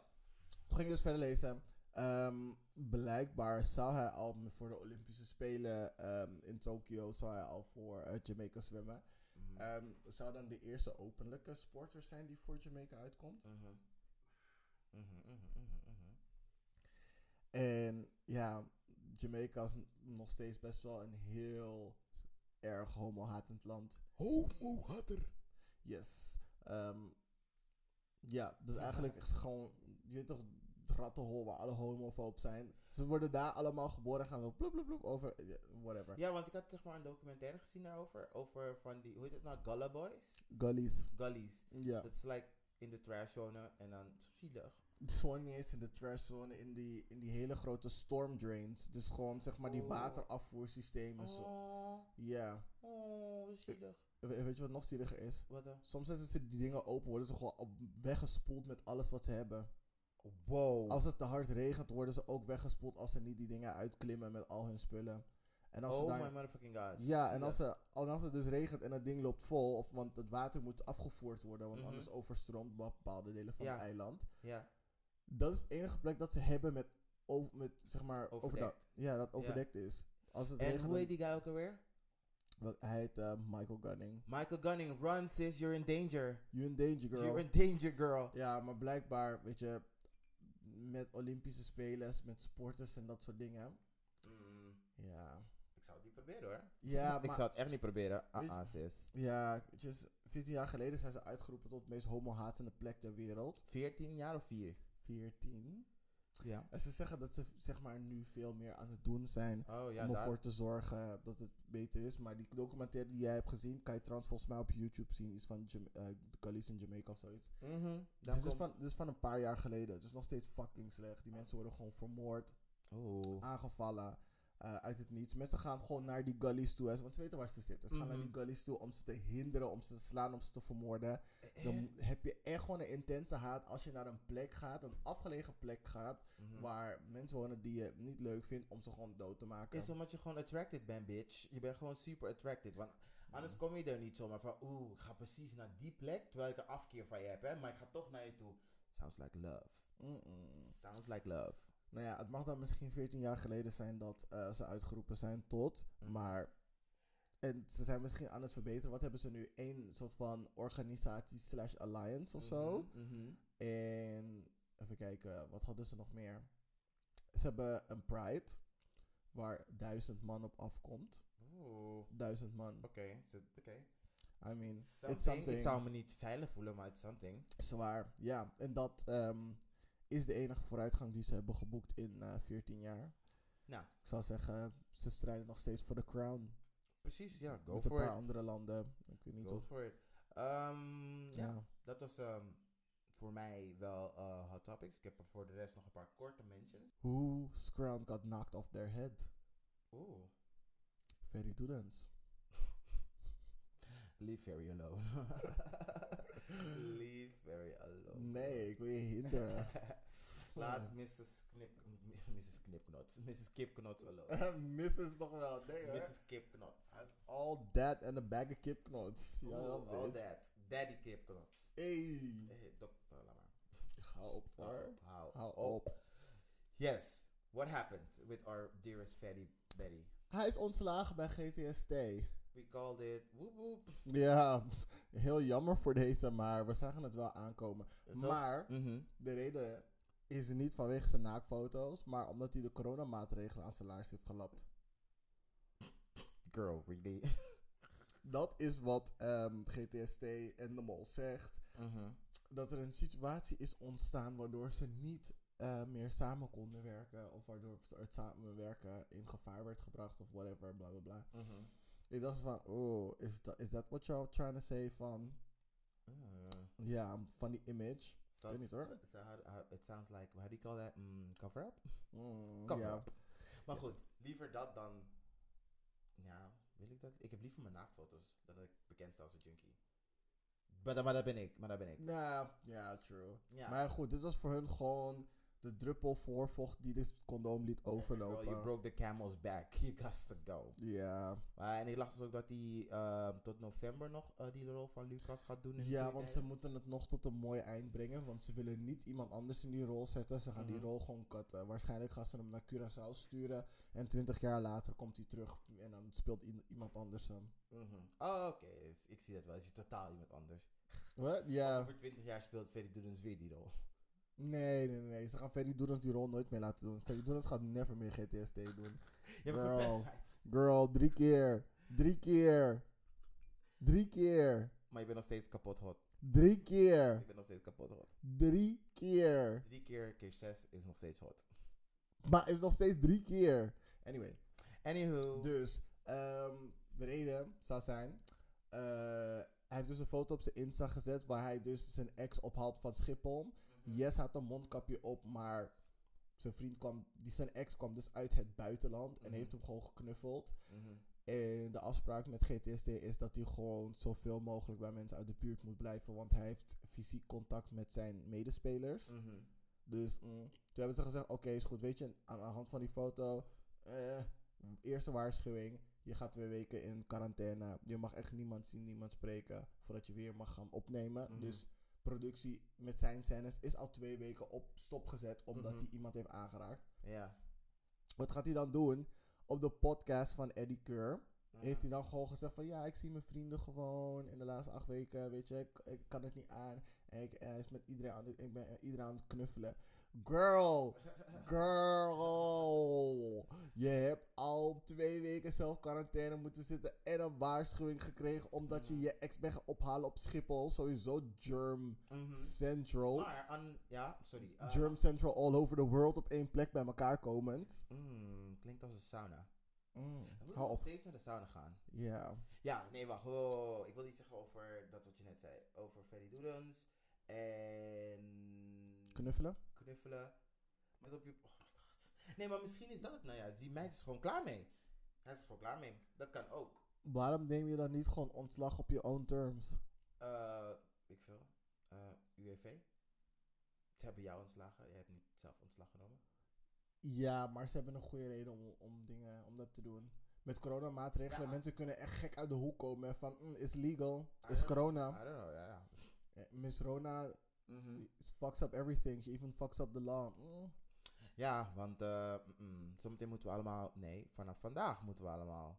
S4: Toen ging ik dus verder lezen. Ehm, blijkbaar zou hij al m- voor de Olympische Spelen ehm, in Tokio zou hij al voor eh, Jamaica zwemmen.
S2: Mhm.
S4: Ehm, zou dan de eerste openlijke sporter zijn die voor Jamaica uitkomt.
S2: Mhm. Mhm, mhm, mhm, mhm.
S4: En ja, Jamaica is n- nog steeds best wel een heel erg homohatend land. Homohater! Yes. Ehm, ja, dus eigenlijk is het gewoon, je weet toch, het rattenhol waar alle homofoob zijn. Ze worden daar allemaal geboren en gaan zo ploep, ploep, ploep over, ja, whatever.
S2: Ja, want ik had zeg maar een documentaire gezien daarover. Over van die, hoe heet het nou? Gullah Boys?
S4: Gullies.
S2: Gullies.
S4: Ja.
S2: Dat is like in de trash wonen en dan zielig.
S4: Het is gewoon niet eens in de trash zone, in die, in die hele grote storm drains. Dus gewoon zeg maar die
S2: Oh.
S4: waterafvoersystemen. zo.
S2: Oh,
S4: Ja.
S2: oh, zielig.
S4: We- Weet je wat nog zieliger is?
S2: Wat dan?
S4: Soms zetten ze die dingen open, worden ze gewoon op- weggespoeld met alles wat ze hebben.
S2: Wow.
S4: Als het te hard regent, worden ze ook weggespoeld als ze niet die dingen uitklimmen met al hun spullen. En als ze
S2: oh
S4: daar...
S2: my motherfucking god.
S4: Ja, en
S2: Zielig.
S4: als, ze, en als het dus regent en dat ding loopt vol, of, want het water moet afgevoerd worden, want
S2: Mhm.
S4: anders overstroomt bepaalde delen van
S2: Ja.
S4: het eiland.
S2: Ja,
S4: Dat is de enige plek dat ze hebben met, o- met zeg maar, overdak.
S2: Overdekt.
S4: Ja, dat overdekt is. Als het
S2: en
S4: regent,
S2: hoe heet
S4: dan-
S2: die guy ook alweer?
S4: wel, hij heet eh, Michael Gunning.
S2: Michael Gunning, run sis, you're in danger.
S4: You in danger, girl.
S2: You're in danger, girl.
S4: Ja, maar blijkbaar, weet je, met Olympische spelers, met sporters en dat soort dingen.
S2: Mm,
S4: Ja.
S2: ik zou het niet proberen hoor.
S4: Ja,
S2: ik
S4: maar,
S2: zou het echt niet proberen. Ah,
S4: Weet je-
S2: ah, sis.
S4: ja weet je, 14 jaar geleden zijn ze uitgeroepen tot de meest homohatende plek ter wereld.
S2: 14 jaar of 4?
S4: 14.
S2: Ja.
S4: En ze zeggen dat ze zeg maar nu veel meer aan het doen zijn.
S2: Oh ja,
S4: om
S2: daar.
S4: ervoor te zorgen dat het beter is. Maar die documentaire die jij hebt gezien, kan je trouwens volgens mij op YouTube zien. Iets van Jam eh, de Gullies in Jamaica of zoiets.
S2: Mhm.
S4: Dus
S2: Dan
S4: dit, is
S2: komt-
S4: van, dit is van een paar jaar geleden. Dus nog steeds fucking slecht. Die mensen worden gewoon vermoord.
S2: Oh.
S4: aangevallen eh, uit het niets. Mensen gaan gewoon naar die gullies toe, hè, want ze weten waar ze zitten. Ze gaan naar
S2: Mhm.
S4: die gullies toe om ze te hinderen, om ze te slaan, om ze te vermoorden.
S2: Eh,
S4: Dan mo- heb je echt gewoon een intense haat als je naar een plek gaat, een afgelegen plek gaat,
S2: mhm.
S4: waar mensen wonen die je niet leuk vindt, om ze gewoon dood te maken.
S2: Is omdat je gewoon attracted bent, bitch. Je bent gewoon super attracted. Want anders kom je er niet zomaar van, oeh, ik ga precies naar die plek, terwijl ik een afkeer van je heb, hè. Maar ik ga toch naar je toe. Sounds like love.
S4: Mm-mm.
S2: Sounds like love.
S4: Nou ja, het mag dan misschien 14 jaar geleden zijn dat eh, ze uitgeroepen zijn tot,
S2: Mhm.
S4: maar. En ze zijn misschien aan het verbeteren. Wat hebben ze nu? Eén soort van organisatie slash alliance of zo.
S2: Mhm, mhm.
S4: En even kijken, wat hadden ze nog meer? Ze hebben een Pride, waar duizend man op afkomt.
S2: Oeh, oké.
S4: Duizend man.
S2: is het- Oké.
S4: I mean,
S2: Something. um,
S4: it's something.
S2: Ik zou me niet veilig voelen, maar it's something.
S4: Zwaar, ja. En dat ehm, is de enige vooruitgang die ze hebben geboekt in eh, 14 jaar.
S2: Nou.
S4: Ik zou zeggen, ze strijden nog steeds voor de crown.
S2: Precies, ja. Go
S4: Met een
S2: for
S4: paar
S2: it.
S4: andere landen. Ik weet niet
S2: Go
S4: of...
S2: for it. Ehm, ja.
S4: Ja.
S2: dat was ehm, voor mij wel eh, hot topics. Ik heb er voor de rest nog een paar korte mentions.
S4: Who's crown got knocked off their head?
S2: Oeh.
S4: Very Dudens.
S2: Leave very alone. *laughs* Leave very alone.
S4: Nee, ik wil je
S2: *laughs*
S4: hinderen. *laughs*
S2: Laat Mrs. Knip, Mrs. Knipknots, Mrs. Kipknots
S4: *laughs*
S2: alone.
S4: Mrs. nog wel, nee hoor.
S2: Mrs. Kipknots.
S4: That's all that en een bag of kipknots. Ja,
S2: All, all
S4: bitch.
S2: that. Daddy Eh, Kipknots.
S4: Ey.
S2: Hey, dokter, laat maar.
S4: Hou op, hoor.
S2: Hou
S4: Hou
S2: op.
S4: op.
S2: Oh, Yes, what happened with our dearest Fatty Betty?
S4: Hij is ontslagen bij GTST.
S2: We called it woep woep.
S4: Ja, heel jammer voor deze, maar we zagen het wel aankomen. Maar
S2: Mhm.
S4: de reden is niet vanwege zijn naakfoto's, maar omdat hij de coronamaatregelen aan zijn laars heeft gelapt.
S2: Girl, really.
S4: Dat is wat ehm, GTST en de mol zegt.
S2: Mhm.
S4: dat er een situatie is ontstaan waardoor ze niet eh, meer samen konden werken. Of waardoor ze het samenwerken in gevaar werd gebracht of whatever, bla bla bla.
S2: Mhm.
S4: Ik dacht van, oh, is dat is that what y'all trying to say van,
S2: Ah.
S4: ja, van die image?
S2: So,
S4: Weet niet, hoor.
S2: so- so how- how- it sounds like, how do you call that? Mm, cover up?
S4: Mm,
S2: Cover
S4: ja.
S2: up. *laughs* Maar goed, liever dat dan. Ja, wil ik dat? Ik heb liever mijn naaktfoto's dat ik bekend sta als een junkie. Maar, dat- maar dat ben ik, maar dat ben ik.
S4: Nou, ja, true.
S2: Ja.
S4: Maar goed, dit was voor hun gewoon de druppel voorvocht die dit condoom liet
S2: Girl, you
S4: overlopen.
S2: broke the camel's back. *laughs* You got to go.
S4: Ja,
S2: Maar, en ik dacht dus ook dat hij ehm, tot november nog eh, die rol van Lucas gaat doen. in
S4: ja
S2: Goede
S4: want ze
S2: Tijden.
S4: moeten het nog tot een mooi eind brengen. Want ze willen niet iemand anders in die rol zetten. Ze gaan
S2: Mhm.
S4: die rol gewoon cutten. Waarschijnlijk gaan ze hem naar Curaçao sturen. En twintig jaar later komt hij terug. En dan speelt i- iemand anders hem.
S2: Mhm. Oh, oké. Dus ik zie dat wel. Het is totaal iemand anders.
S4: Wat? Ja.
S2: Over 20 jaar speelt Ferry Doedens weer die rol. *laughs*
S4: Nee, nee, nee. Ze gaan Ferry Doedens die rol nooit meer laten doen. Ferry Doedens gaat never meer GTSD doen.
S2: Je hebt
S4: Girl.
S2: verpest. meid.
S4: Girl, drie keer. Drie keer. Drie keer.
S2: Maar je bent nog steeds kapot hot.
S4: Drie
S2: Ik
S4: keer.
S2: ben nog steeds kapot hot.
S4: Drie keer.
S2: Drie keer keer zes is nog steeds hot.
S4: Maar is nog steeds drie keer. Anyway.
S2: Anywho.
S4: Dus ehm, de reden zou zijn. eh, hij heeft dus een foto op zijn Insta gezet waar hij dus zijn ex ophaalt van Schiphol. Yes, hij had een mondkapje op, maar zijn vriend kwam, die zijn ex kwam dus uit het buitenland en
S2: Mhm.
S4: heeft hem gewoon geknuffeld.
S2: Mhm.
S4: En de afspraak met GTSD is dat hij gewoon zoveel mogelijk bij mensen uit de buurt moet blijven, want hij heeft fysiek contact met zijn medespelers.
S2: Mhm.
S4: Dus mm, toen hebben ze gezegd: Oké, is goed. Weet je, aan de hand van die foto, eh, eerste waarschuwing. Je gaat twee weken in quarantaine. Je mag echt niemand zien, niemand spreken. Voordat je weer mag gaan opnemen.
S2: Mhm.
S4: Dus productie met zijn scènes is al twee weken op stop gezet. Omdat
S2: Mhm.
S4: hij iemand heeft aangeraakt.
S2: Ja.
S4: Wat gaat hij dan doen? Op de podcast van Eddie Keur
S2: Mhm.
S4: heeft hij dan gewoon gezegd van ja, ik zie mijn vrienden gewoon in de laatste acht weken, weet je, ik, ik kan het niet aan. En ik, eh, hij is met iedereen aan, het- ik ben eh, iedereen aan het knuffelen.
S2: *laughs*
S4: Girl, girl, je hebt al twee weken zelf quarantaine moeten zitten en een waarschuwing gekregen omdat je je ex bent gaan ophalen op Schiphol, sowieso Germ
S2: Mhm.
S4: Central,
S2: Maar aan... Ja, sorry. eh,
S4: Oh. Germ Central all over the world op één plek bij elkaar komend.
S2: mm, klinkt als een sauna.
S4: Mm,
S2: We moeten
S4: hou
S2: nog
S4: op,
S2: steeds naar de sauna gaan.
S4: ja.
S2: Ja, nee, wacht. Oh, ik wil iets zeggen over dat wat je net zei. Over Ferry Doedens. En...
S4: Knuffelen?
S2: knuffelen. Met op je... Oh my god. Nee, maar misschien is dat het nou juist. Die meid is gewoon klaar mee. Hij is gewoon klaar mee. Dat kan ook.
S4: Waarom neem je dan niet gewoon ontslag op je own terms?
S2: Eh, ik veel. Eh UWV. Ze hebben jou ontslagen. Jij hebt niet zelf ontslag genomen.
S4: Ja, maar ze hebben een goede reden om, om dingen om dat te doen. Met coronamaatregelen,
S2: Ja.
S4: mensen kunnen echt gek uit de hoek komen en van mm, is legal,
S2: Ah,
S4: is
S2: ja.
S4: corona.
S2: I don't know, ja, ja.
S4: Eh, Miss Rona
S2: Mhm.
S4: is- fucks up everything, she even fucks up the law. Mm.
S2: Ja, want eh, mm, mm, zometeen moeten we allemaal. Nee, vanaf vandaag moeten we allemaal.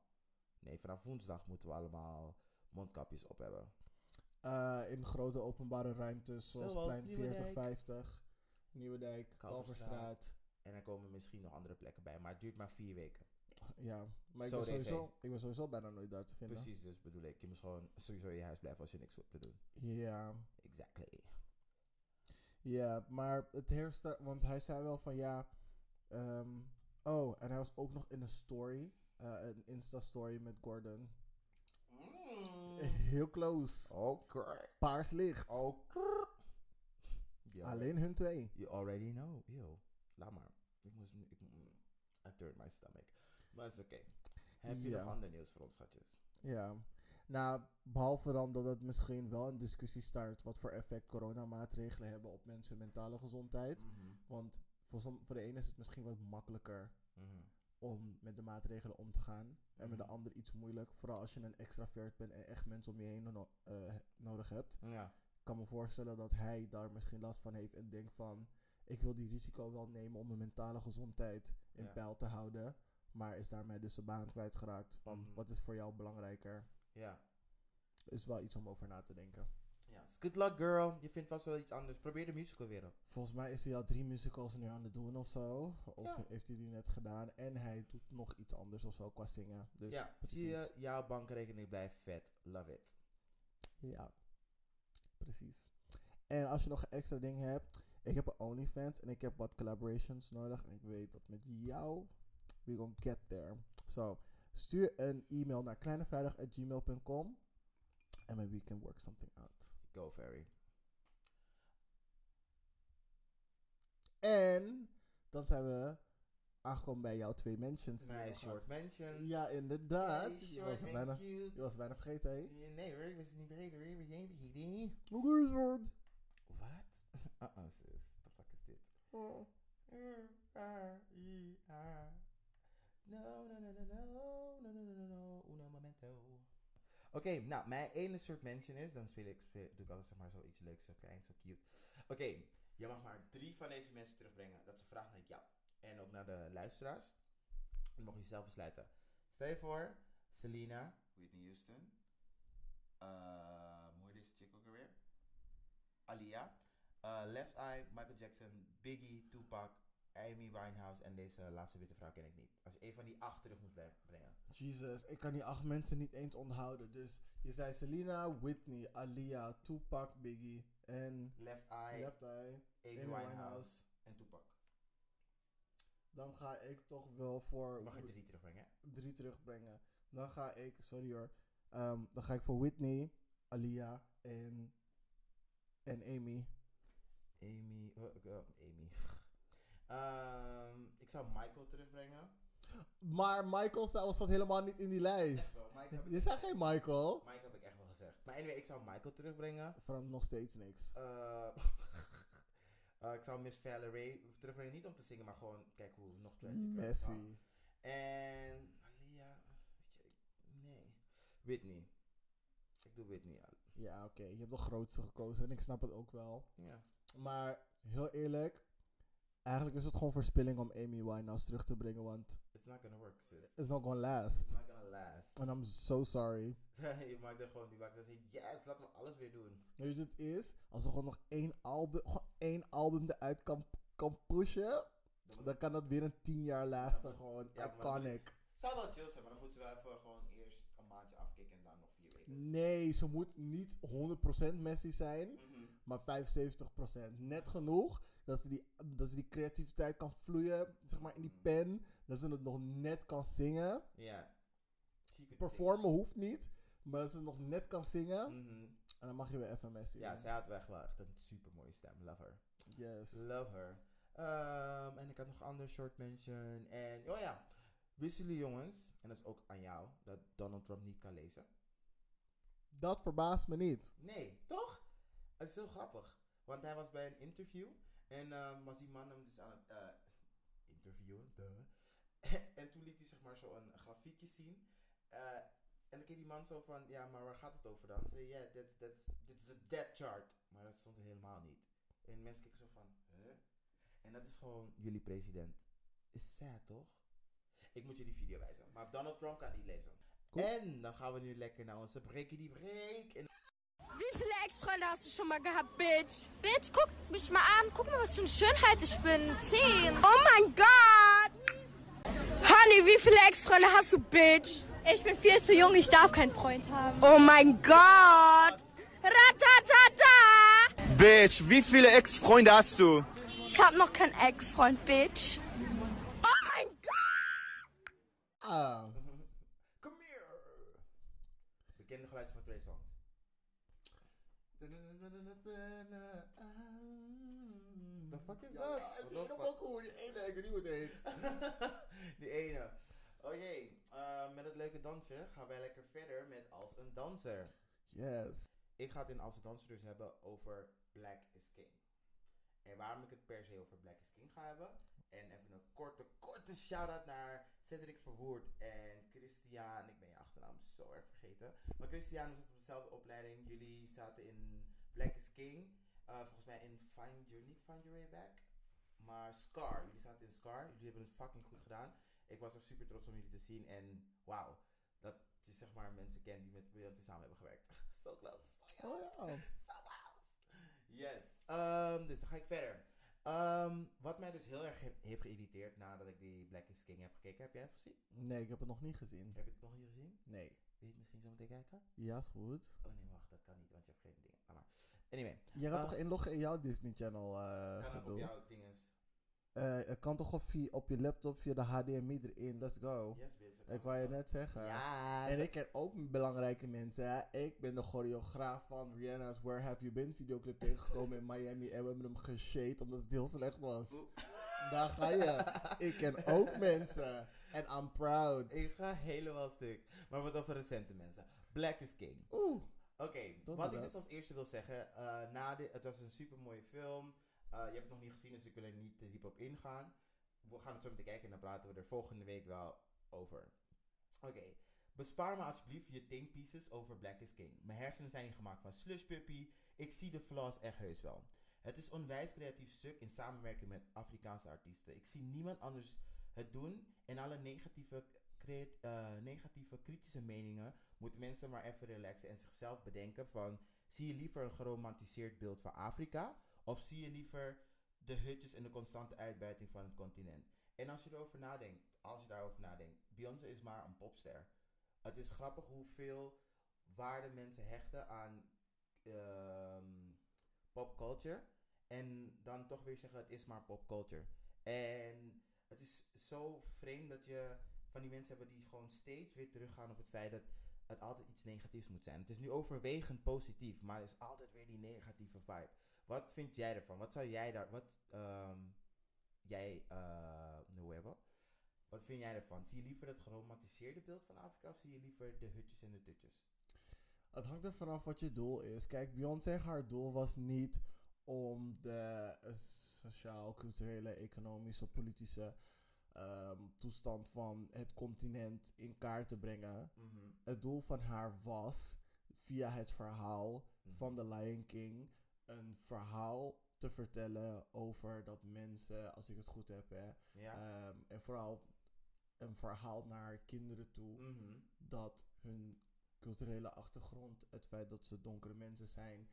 S2: Nee, vanaf woensdag moeten we allemaal mondkapjes op hebben.
S4: Eh, in grote openbare ruimtes zoals,
S2: Zoals
S4: Plein
S2: Nieuwedijk.
S4: 4050, Nieuwedijk,
S2: Kalverstraat.
S4: Kalverstraat.
S2: En er komen misschien nog andere plekken bij, maar het duurt maar vier weken.
S4: Ja, maar ik
S2: Zo
S4: ben,
S2: deze.
S4: sowieso, ik ben sowieso bijna nooit daar te vinden.
S2: Precies, dus bedoel ik, je moet gewoon sowieso in je huis blijven als je niks hoeft te doen.
S4: Ja,
S2: Exactly.
S4: ja, maar het herstelt, want hij zei wel van ja. ehm, oh, en hij was ook nog in een story, eh, een Insta-story met Gordon.
S1: Hmm.
S4: *laughs* Heel
S2: Oh.
S4: close.
S2: Oké.
S4: Paars licht.
S2: Oké. Oh, Ja.
S4: Alleen hun twee.
S2: You already know. Yo, laat maar. Ik moest nu... Ik, mm, I turned my stomach. Maar is oké. Heb je
S4: Ja.
S2: nog ander nieuws voor ons, schatjes?
S4: Ja. Nou, behalve dan dat het misschien wel een discussie start wat voor effect coronamaatregelen hebben op mensen hun mentale gezondheid.
S2: Mhm.
S4: Want voor, som, voor de ene is het misschien wat makkelijker
S2: Mhm.
S4: om met de maatregelen om te gaan. En met de
S2: Mhm.
S4: ander iets moeilijk. Vooral als je een extravert bent en echt mensen om je heen no- eh, nodig hebt.
S2: Ja.
S4: Ik kan me voorstellen dat hij daar misschien last van heeft en denkt van... Ik wil die risico wel nemen om mijn mentale gezondheid in
S2: Ja.
S4: peil te houden. Maar is daarmee dus de baan kwijtgeraakt. Van
S2: Mhm.
S4: wat is voor jou belangrijker?
S2: Ja.
S4: Is wel iets om over na te denken.
S2: Ja. Good luck, girl. Je vindt vast wel iets anders. Probeer de musical weer op.
S4: Volgens mij is hij al drie musicals nu aan het doen of zo. Of
S2: Ja.
S4: heeft hij die net gedaan. En hij doet nog iets anders of zo qua zingen. Dus
S2: ja. Zie je, jouw bankrekening blijft vet. Love it.
S4: Ja, precies. En als je nog extra dingen hebt, ik heb een OnlyFans en ik heb wat collaborations nodig. En ik weet dat met jou, we gonna get there. So, stuur een e-mail naar kleinevrijdag.gmail.com en maybe we can work something out.
S2: Go, Ferry.
S4: En dan zijn we aangekomen bij jouw twee mentions. die je
S2: Nice
S4: nog
S2: short
S4: had.
S2: mention.
S4: Ja, inderdaad.
S2: Nice,
S4: je, was
S2: short
S4: het
S2: and
S4: bijna,
S2: cute.
S4: je was het bijna vergeten, hè?
S2: Eh, Nee hoor, ik was het niet vergeten hoor. We zijn vergeten.
S4: Oké, short.
S2: Wat? *laughs* Uh-uh, sis. The fuck is dit?
S4: Oh.
S2: R-I-A. No, no, no, no, no, no, no, no, no, no, uno momento. Oké, nou, mijn ene soort mention is, dan speel ik, speel, doe ik altijd zeg maar zoiets leuks, zo klein, zo cute. Oké, je mag maar drie van deze mensen terugbrengen. Dat is een vraag naar jou en ook naar de luisteraars. Dan mag je zelf besluiten. Stel je voor, Selena, Whitney Houston, uh, hoe heet deze chick ook alweer? Alia, uh, Left Eye, Michael Jackson, Biggie, Tupac, Amy Winehouse en deze laatste witte vrouw ken ik niet. Als je een van die acht terug moet bre- brengen.
S4: Jesus, ik kan die acht mensen niet eens onthouden. Dus je zei Selena, Whitney, Alia, Tupac, Biggie en
S2: Left Eye,
S4: Left Eye,
S2: Amy,
S4: Amy
S2: Winehouse,
S4: Winehouse.
S2: en Tupac.
S4: Dan ga ik toch wel voor
S2: Mag ik
S4: Whit-
S2: drie terugbrengen?
S4: drie terugbrengen. Dan ga ik, sorry hoor, ehm, dan ga ik voor Whitney, Alia en, en Amy.
S2: Amy, eh, eh, Amy. *laughs* Ehm, ik zou Michael terugbrengen.
S4: Maar Michael zelf zat helemaal niet in die
S2: Echt
S4: lijst.
S2: wel, Michael heb,
S4: Je
S2: ik,
S4: zei geen Michael.
S2: Michael heb ik echt wel gezegd. Maar anyway, ik zou Michael terugbrengen.
S4: Verandert nog steeds niks.
S2: Eh, *laughs* eh, ik zou Miss Valerie terugbrengen. Niet om te zingen, maar gewoon kijk hoe nog tragic het kan.
S4: Messi.
S2: En Alia, weet je, ik- nee. Whitney. Ik doe Whitney. al-
S4: Ja, oké. Je hebt de grootste gekozen en ik snap het ook wel.
S2: Ja.
S4: Maar heel eerlijk, eigenlijk is het gewoon verspilling om Amy Winehouse terug te brengen, want
S2: It's not gonna work, sis.
S4: it's not
S2: It's
S4: gonna last.
S2: not gonna last. *laughs*
S4: And I'm so sorry.
S2: je maakt er gewoon die maakt dat zegt, yes, laten we alles weer doen.
S4: Weet je wat het is? Als er gewoon nog één album, gewoon één album eruit kan, kan pushen,
S2: Dan
S4: dan kan dat weer een tien jaar lasten. Gewoon
S2: Ja, maar-
S4: iconic.
S2: Zou wel chill zijn, maar dan moeten ze wel even gewoon eerst een maandje afkicken en dan nog vier weken.
S4: Nee, ze moet niet 100% Messi zijn,
S2: Mhm.
S4: maar 75%. Net genoeg dat ze, die, dat ze die creativiteit kan vloeien, zeg maar in die
S2: Mm.
S4: pen. Dat ze het nog net kan zingen.
S2: Ja. She could
S4: Performen hoeft niet, maar dat ze nog net kan zingen.
S2: sing. Mhm.
S4: En dan mag je weer FMS zien.
S2: Ja, zij had wel echt wel echt een super mooie stem. Love her.
S4: Yes.
S2: Love her. Ehm, en ik had nog een ander short mention. En, oh ja, wisten jullie jongens, en dat is ook aan jou, dat Donald Trump niet kan lezen?
S4: Dat verbaast me niet.
S2: Nee, toch? Het is heel grappig. Want hij was bij een interview en ehm, was die man hem dus aan het eh, interviewen. duh. *laughs* en toen liet hij zeg maar zo een grafiekje zien. Eh, en dan keek die man zo van, ja, maar waar gaat het over dan? Zei, ja, that's, that's, that's the death chart. Maar dat stond er helemaal niet. En mensen keken zo van, huh? En dat is gewoon jullie president. Is sad, toch? Ik moet jullie video wijzen. Maar Donald Trump kan niet lezen.
S4: Cool.
S2: En dan gaan we nu lekker naar onze breakie die break. En
S5: Wie viele Ex-Freunde hast du schon mal gehabt, Bitch? Bitch, guck mich mal an. Guck mal, was für eine Schönheit ich bin. Zehn. Oh mein Gott! Honey, wie viele Ex-Freunde hast du, Bitch? Ich bin viel zu jung, ich darf keinen Freund haben. Oh mein Gott! Ratatata!
S6: Bitch, wie viele Ex-Freunde hast du?
S5: Ich hab noch keinen Ex-Freund, Bitch. Oh mein Gott!
S4: Ah,
S2: Come here! Bekende geluid van twee songs. The fuck is dat?
S1: Ja, het
S2: Wat
S1: is
S2: dat
S1: nog
S2: fuck?
S1: ook hoe die ene, ik weet niet hoe het heet.
S2: *laughs* Die ene. Oké, eh, met het leuke dansje gaan wij lekker verder met Als een Danser.
S4: yes.
S2: Ik ga het in Als een Danser dus hebben over Black is King. En waarom ik het per se over Black is King ga hebben. En even een korte, korte shout-out naar Cedric Verwoerd en Christian. Ik ben je achternaam zo erg vergeten. Maar Christian was op dezelfde opleiding. Jullie zaten in Black is King. Eh, volgens mij in Find Your, niet Find Your Way Back. Maar Scar. Jullie zaten in Scar. Jullie hebben het fucking goed gedaan. Ik was echt super trots om jullie te zien. En wauw. Dat je zeg maar mensen kent die met Beyoncé samen hebben gewerkt. *laughs* so close.
S4: Oh ja.
S2: So close. Yes. Ehm, dus dan ga ik verder. Ehm, wat mij dus heel erg he- heeft geïrriteerd nadat ik die Black is King heb gekeken. Heb jij het gezien?
S4: Nee, ik heb het nog niet gezien.
S2: Heb je het nog niet gezien?
S4: Nee.
S2: Wil je het misschien zo meteen kijken?
S4: Ja, is goed.
S2: Oh nee, wacht. Dat kan niet, want je hebt geen dingen. Ah, maar. Anyway.
S4: Je gaat
S2: Ah.
S4: toch inloggen in jouw Disney Channel eh
S2: kan het op
S4: gedoe?
S2: jouw dinges.
S4: Eh, het kan toch op, via, op je laptop via de HDMI erin? Let's go.
S2: Yes, bitch. dat kan
S4: Oh. Ik wou je
S2: wel.
S4: net zeggen.
S2: Ja.
S4: En ik ken ook belangrijke mensen. hè. Ik ben de choreograaf van Rihanna's Where Have You Been videoclip tegengekomen in Miami. En we hebben hem geshade omdat het heel slecht was. Daar ga je. Ik ken ook mensen. En I'm proud.
S2: Ik ga helemaal stuk. Maar wat over recente mensen. Black is King.
S4: Oeh.
S2: Oké, wat
S4: Dat
S2: ik
S4: inderdaad.
S2: dus als eerste wil zeggen. eh, na dit, het was een super mooie film. Eh, je hebt het nog niet gezien, dus ik wil er niet te diep op ingaan. We gaan het zo meteen kijken en dan praten we er volgende week wel over. Oké, bespaar me alsjeblieft je think pieces over Black is King. Mijn hersenen zijn niet gemaakt van slush puppy. Ik zie de flaws echt heus wel. Het is onwijs creatief stuk in samenwerking met Afrikaanse artiesten. Ik zie niemand anders het doen en alle negatieve, crea- eh, negatieve kritische meningen moeten mensen maar even relaxen en zichzelf bedenken van zie je liever een geromantiseerd beeld van Afrika of zie je liever de hutjes en de constante uitbuiting van het continent. En als je erover nadenkt, als je daarover nadenkt, Beyoncé is maar een popster. Het is grappig hoeveel waarde mensen hechten aan ehm popculture. En dan toch weer zeggen, het is maar popculture. En het is zo vreemd dat je van die mensen hebt die gewoon steeds weer teruggaan op het feit dat het altijd iets negatiefs moet zijn. Het is nu overwegend positief, maar er is altijd weer die negatieve vibe. Wat vind jij ervan? Wat zou jij daar... Wat, ehm, jij... eh, hoe heet dat? Wat vind jij ervan? Zie je liever het geromantiseerde beeld van Afrika of zie je liever de hutjes en de tutjes?
S4: Het hangt er vanaf wat je doel is. Kijk, Beyoncé, haar doel was niet om de eh, sociaal, culturele, economische, politische ehm, toestand van het continent in kaart te brengen. Het doel van haar was via het verhaal
S2: Mhm.
S4: van The Lion King een verhaal te vertellen over dat mensen, als ik het goed heb, hè,
S2: Ja.
S4: ehm, en vooral een verhaal naar haar kinderen toe
S2: Mhm.
S4: dat hun culturele achtergrond, het feit dat ze donkere mensen zijn,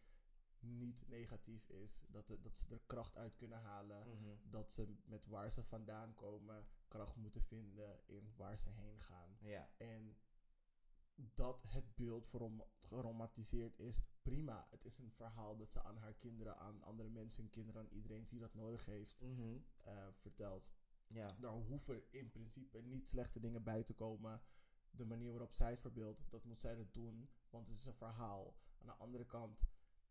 S4: niet negatief is. Dat, de- dat ze er kracht uit kunnen halen.
S2: Mhm.
S4: Dat ze met waar ze vandaan komen, kracht moeten vinden in waar ze heen gaan.
S2: Ja.
S4: En dat het beeld gerom- geromantiseerd is, prima. Het is een verhaal dat ze aan haar kinderen, aan andere mensen, hun kinderen, aan iedereen die dat nodig heeft,
S2: Mhm.
S4: eh, vertelt
S2: Ja.
S4: daar hoeven in principe niet slechte dingen bij te komen. De manier waarop zij het verbeeldt, dat moet zij dat doen, want het is een verhaal. Aan de andere kant,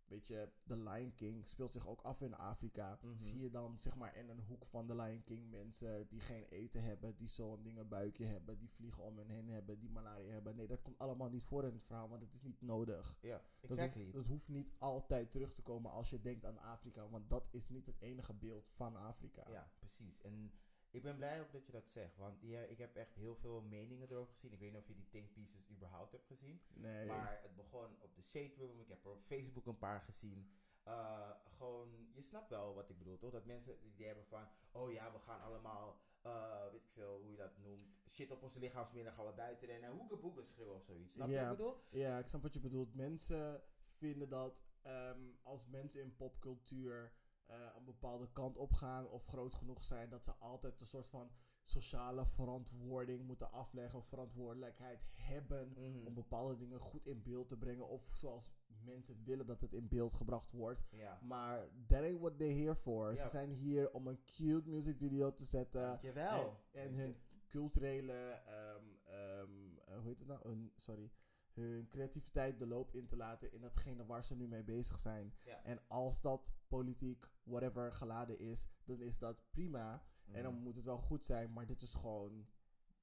S4: weet je, The Lion King speelt zich ook af in Afrika.
S2: Mhm.
S4: Zie je dan, zeg maar, in een hoek van The Lion King mensen die geen eten hebben, die zo'n dingenbuikje hebben, die vliegen om hen heen hebben, die malaria hebben. Nee, dat komt allemaal niet voor in het verhaal, want het is niet nodig.
S2: Ja.
S4: Dat hoeft-
S2: Exactly.
S4: dat hoeft niet altijd terug te komen als je denkt aan Afrika, want dat is niet het enige beeld van Afrika.
S2: Ja, precies. En ik ben blij ook dat je dat zegt, want ja, ik heb echt heel veel meningen erover gezien. Ik weet niet of je die think pieces überhaupt hebt gezien.
S4: Nee.
S2: Maar het begon op de Shade Room. Ik heb er op Facebook een paar gezien. eh, gewoon, je snapt wel wat ik bedoel, toch? Dat mensen het idee hebben van, oh ja, we gaan allemaal, eh, weet ik veel hoe je dat noemt, shit op onze lichaamsmiddel, dan gaan we buiten rennen, hoekenboeken schreeuwen of zoiets. Snap je
S4: Ja.
S2: wat ik bedoel?
S4: Ja, ik snap wat je bedoelt. Mensen vinden dat ehm, als mensen in popcultuur eh, een bepaalde kant op gaan of groot genoeg zijn, dat ze altijd een soort van sociale verantwoording moeten afleggen of verantwoordelijkheid hebben
S2: Mhm.
S4: om bepaalde dingen goed in beeld te brengen of zoals mensen willen dat het in beeld gebracht wordt.
S2: Ja.
S4: Maar that ain't what they're here for.
S2: Ja.
S4: Ze zijn hier om een cute music video te zetten.
S2: Jawel.
S4: En, en hun culturele, ehm, ehm, eh, hoe heet het nou? Hun, sorry. Hun creativiteit de loop in te laten in datgene waar ze nu mee bezig zijn.
S2: Ja.
S4: En als dat politiek, whatever, geladen is, dan is dat prima. En
S2: Mhm.
S4: dan moet het wel goed zijn, maar dit is gewoon.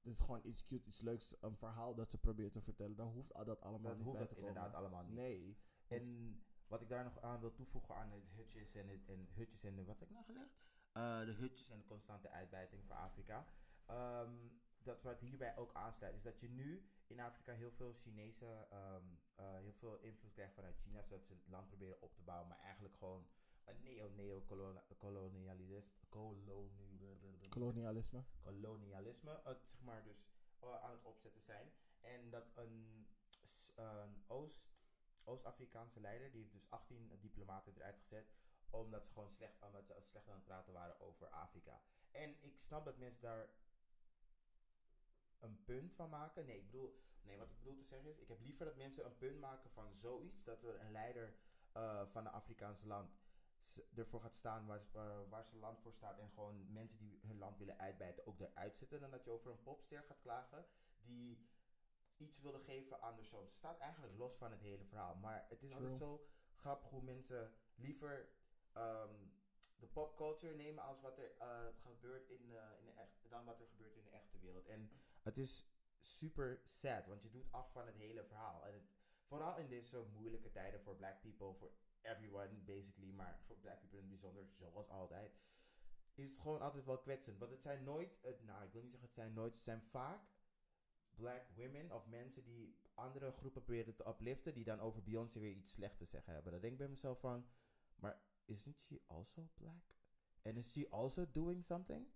S4: Dit is gewoon iets cute, iets leuks, een verhaal dat ze probeert te vertellen. Dan hoeft al dat allemaal
S2: dat
S4: niet
S2: hoeft
S4: bij
S2: dat
S4: te komen.
S2: inderdaad allemaal niet.
S4: Nee.
S2: En wat ik daar nog aan wil toevoegen aan het hutjes en, het, en hutjes en de, wat heb ik nou gezegd? Eh, de hutjes en de constante uitbuiting voor Afrika. Ehm, dat wat hierbij ook aansluit is dat je nu in Afrika heel veel Chinese, ehm, eh, heel veel invloed krijgt vanuit China, zodat ze het land proberen op te bouwen, maar eigenlijk gewoon een neo-neo-kolonialisme.
S4: Kolonialisme.
S2: kolonialisme, eh, zeg maar, dus eh, aan het opzetten zijn. En dat een, s- een Oost, Oost-Afrikaanse leider, die heeft dus 18 diplomaten eruit gezet, omdat ze gewoon slecht, omdat ze slecht aan het praten waren over Afrika. En ik snap dat mensen daar een punt van maken. Nee, ik bedoel, nee, wat ik bedoel te zeggen is, ik heb liever dat mensen een punt maken van zoiets, dat er een leider eh, van een Afrikaans land s- ervoor gaat staan waar, ze- eh, waar zijn land voor staat en gewoon mensen die hun land willen uitbijten ook eruit zetten, dan dat je over een popster gaat klagen die iets wilde geven aan de show. Het staat eigenlijk los van het hele verhaal, maar het is
S4: True.
S2: altijd zo grappig hoe mensen liever ehm, de popculture nemen als wat er eh, gebeurt in, eh, in de echt, dan wat er gebeurt in de echte wereld. En het is super sad, want je doet af van het hele verhaal. En het, vooral in deze moeilijke tijden voor black people, voor everyone basically, maar voor black people in het bijzonder, zoals altijd, is het gewoon altijd wel kwetsend. Want het zijn nooit, het, nou ik wil niet zeggen het zijn nooit, het zijn vaak black women of mensen die andere groepen proberen te upliften, die dan over Beyoncé weer iets slecht te zeggen hebben. Dan denk ik bij mezelf van, maar isn't she also black? And is she also doing something?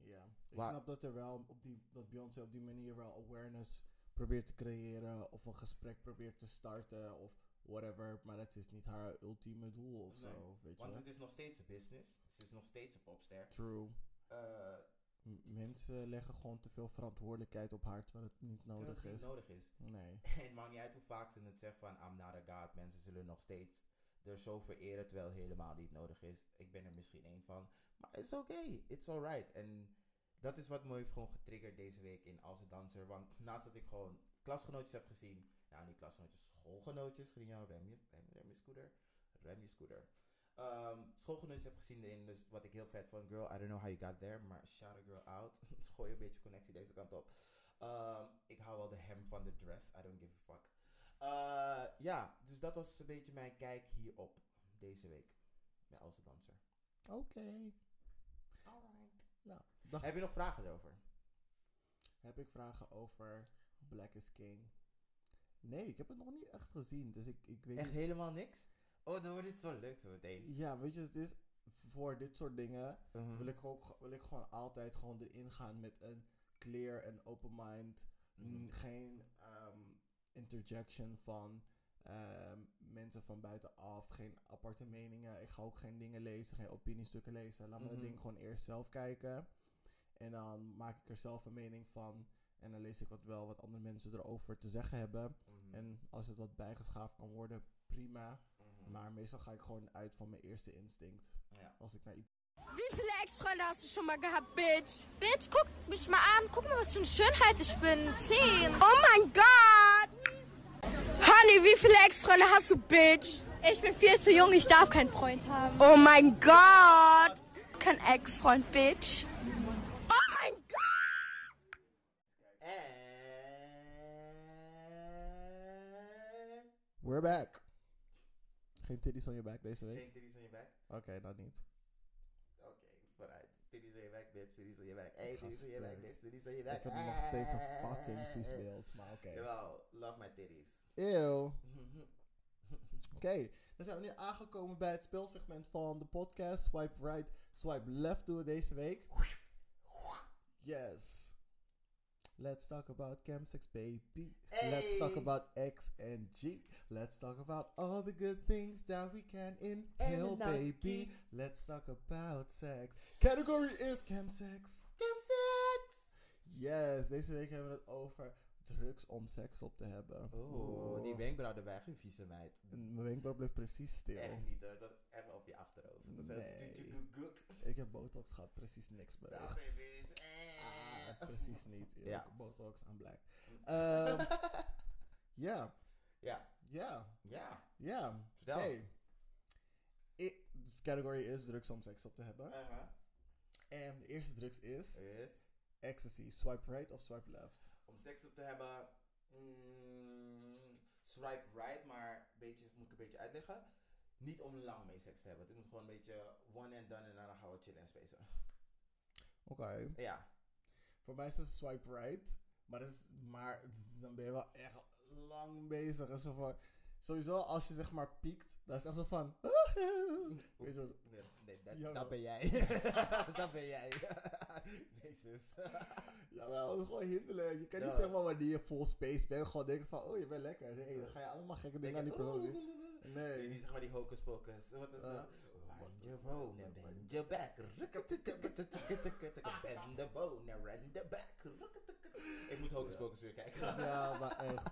S4: Ja, ik
S2: Waar-
S4: snap dat er wel op die dat Beyoncé op die manier wel awareness probeert te creëren of een gesprek probeert te starten of whatever, maar dat is niet haar ultieme doel of
S2: Nee,
S4: zo, weet je.
S2: Want
S4: wel.
S2: het is nog steeds een business. Ze is nog steeds een popster.
S4: True.
S2: Eh,
S4: M- mensen leggen gewoon te veel verantwoordelijkheid op haar terwijl het niet
S2: terwijl
S4: nodig
S2: het niet
S4: is.
S2: nodig is.
S4: Nee.
S2: En *laughs* het maakt niet uit hoe vaak ze het zegt van I'm not a god. Mensen zullen nog steeds er zo vereren terwijl helemaal niet nodig is. Ik ben er misschien één van. Maar it's okay. It's alright. En dat is wat me heeft gewoon getriggerd deze week in Als een Danser. Want naast dat ik gewoon klasgenootjes heb gezien. Nou, niet klasgenootjes, schoolgenootjes. Grignan, rem je, rem, rem je scooter. Rem je scooter. Ehm, schoolgenootjes heb gezien erin. Dus wat ik heel vet vond. Girl, I don't know how you got there. Maar shout a girl out. *laughs* Gooi een beetje connectie deze kant op. Ehm, ik hou wel de hem van de dress. I don't give a fuck. Eh, ja, dus dat was een beetje mijn kijk hierop deze week. Bij Als Danser.
S4: Oké.
S2: Alright.
S4: Nou, dag.
S2: Heb je nog vragen erover?
S4: Heb ik vragen over Black is King? Nee, ik heb het nog niet echt gezien, dus ik, ik weet
S2: Echt
S4: niet.
S2: helemaal niks? Oh, dan wordt dit zo leuk zo meteen.
S4: Ja, weet je, het is voor dit soort dingen
S2: Mhm.
S4: wil ik, ook, wil ik gewoon altijd gewoon erin gaan met een clear en open mind.
S2: Mhm.
S4: N- Geen ehm, interjection van ehm, mensen van buitenaf. Geen aparte meningen. Ik ga ook geen dingen lezen, geen opiniestukken lezen. Laat me
S2: Mhm.
S4: dat ding gewoon eerst zelf kijken. En dan maak ik er zelf een mening van. En dan lees ik wat wel wat andere mensen erover te zeggen hebben.
S2: Mhm.
S4: En als het wat bijgeschaafd kan worden, prima.
S2: Mhm.
S4: Maar meestal ga ik gewoon uit van mijn eerste instinct.
S2: Ja.
S4: Als ik naar iets.
S5: Wie viele Ex-Freunde hast du schon mal gehabt, Bitch? Bitch, guck mich mal an. Guck mal, was für eine Schönheit ich bin. Zehn. Oh mein Gott.
S3: Honey, wie viele Ex-Freunde hast du, Bitch?
S5: Ich bin viel zu jung. Ich darf keinen Freund haben.
S3: Oh mein Gott!
S5: Kein Ex-Freund, Bitch. Oh
S2: En...
S4: We're back. Geen titties on je back deze week?
S2: Geen titties aan je bek?
S4: Oké, dat niet.
S2: Oké, vooruit. Titties aan je bek, bitch. Titties aan je bek. Hey,
S4: Ik ga
S2: titties aan je bek,
S4: stuk.
S2: bitch. Titties aan je bek.
S4: Ik heb nog steeds een fucking
S2: *laughs*
S4: vies beeld, maar oké. *laughs*
S2: Jawel, love my titties.
S4: Eeuw. Oké, Dan zijn we nu aangekomen bij het speelsegment van de podcast. Swipe right, swipe left doen we deze week. Yes. Let's talk about chemsex, baby. Let's talk
S2: Hey.
S4: about X and G. Let's talk about all the good things that we can inhale,
S2: not
S4: baby.
S2: geek.
S4: Let's talk about sex. Category is chemsex. Chemsex. Yes, deze week hebben we het over drugs om seks op te hebben.
S2: Oh, die wenkbrauw erbij, geen vieze meid.
S4: En Mijn wenkbrauw bleef precies stil.
S2: Echt niet hoor, dat is echt op je achterhoofd. Dat is echt
S4: Nee.
S2: tuk, tuk, tuk, tuk.
S4: Ik heb botox gehad, precies niks
S2: Ah,
S4: beweegt.
S2: baby, het- eh.
S4: Ah, precies niet. Ik
S2: Ja.
S4: heb botox aan blijk.
S2: *laughs*
S4: Ehm, Ja,
S2: Ja,
S4: ja,
S2: ja.
S4: ja.
S2: Vertel.
S4: Oké. Ik- Dus category is drugs om seks op te hebben.
S2: Aha.
S4: En de eerste drugs is
S2: Is
S4: ecstasy. Swipe right of swipe left?
S2: om seks op te hebben. mm, swipe right, maar een beetje, moet ik een beetje uitleggen. Niet om lang mee seks te hebben. Het moet gewoon een beetje one and done en daarna gaan we chillen en spacen.
S4: Oké.
S2: Ja.
S4: Voor mij is het swipe right. Maar, dat is, maar dan ben je wel echt lang bezig. En zo van, sowieso, als je zeg maar piekt, dan is het echt zo van... *laughs* Weet je wat?
S2: Nee, nee, dat,
S4: Jawel.
S2: dat ben jij. dat ben jij. nee, zus.
S4: Jawel, het is gewoon hinderlijk. Je kan niet
S2: Ja.
S4: zeggen van wanneer je full space bent. Gewoon denken van, oh, je bent lekker. Nee, dan ga je allemaal gekke dingen aan die persoon doen.
S2: oh, Nee, *laughs*
S4: Nee.
S2: niet zeg maar die hocus pocus. Wat is
S4: Eh,
S2: dat? Wind your bone and bend your back.
S4: *laughs*
S2: Rukketukketukketukketukketuk. Bend the bone and run the back. Rukketukketuk. Ik moet hocus pocus weer kijken.
S4: Ja, maar echt.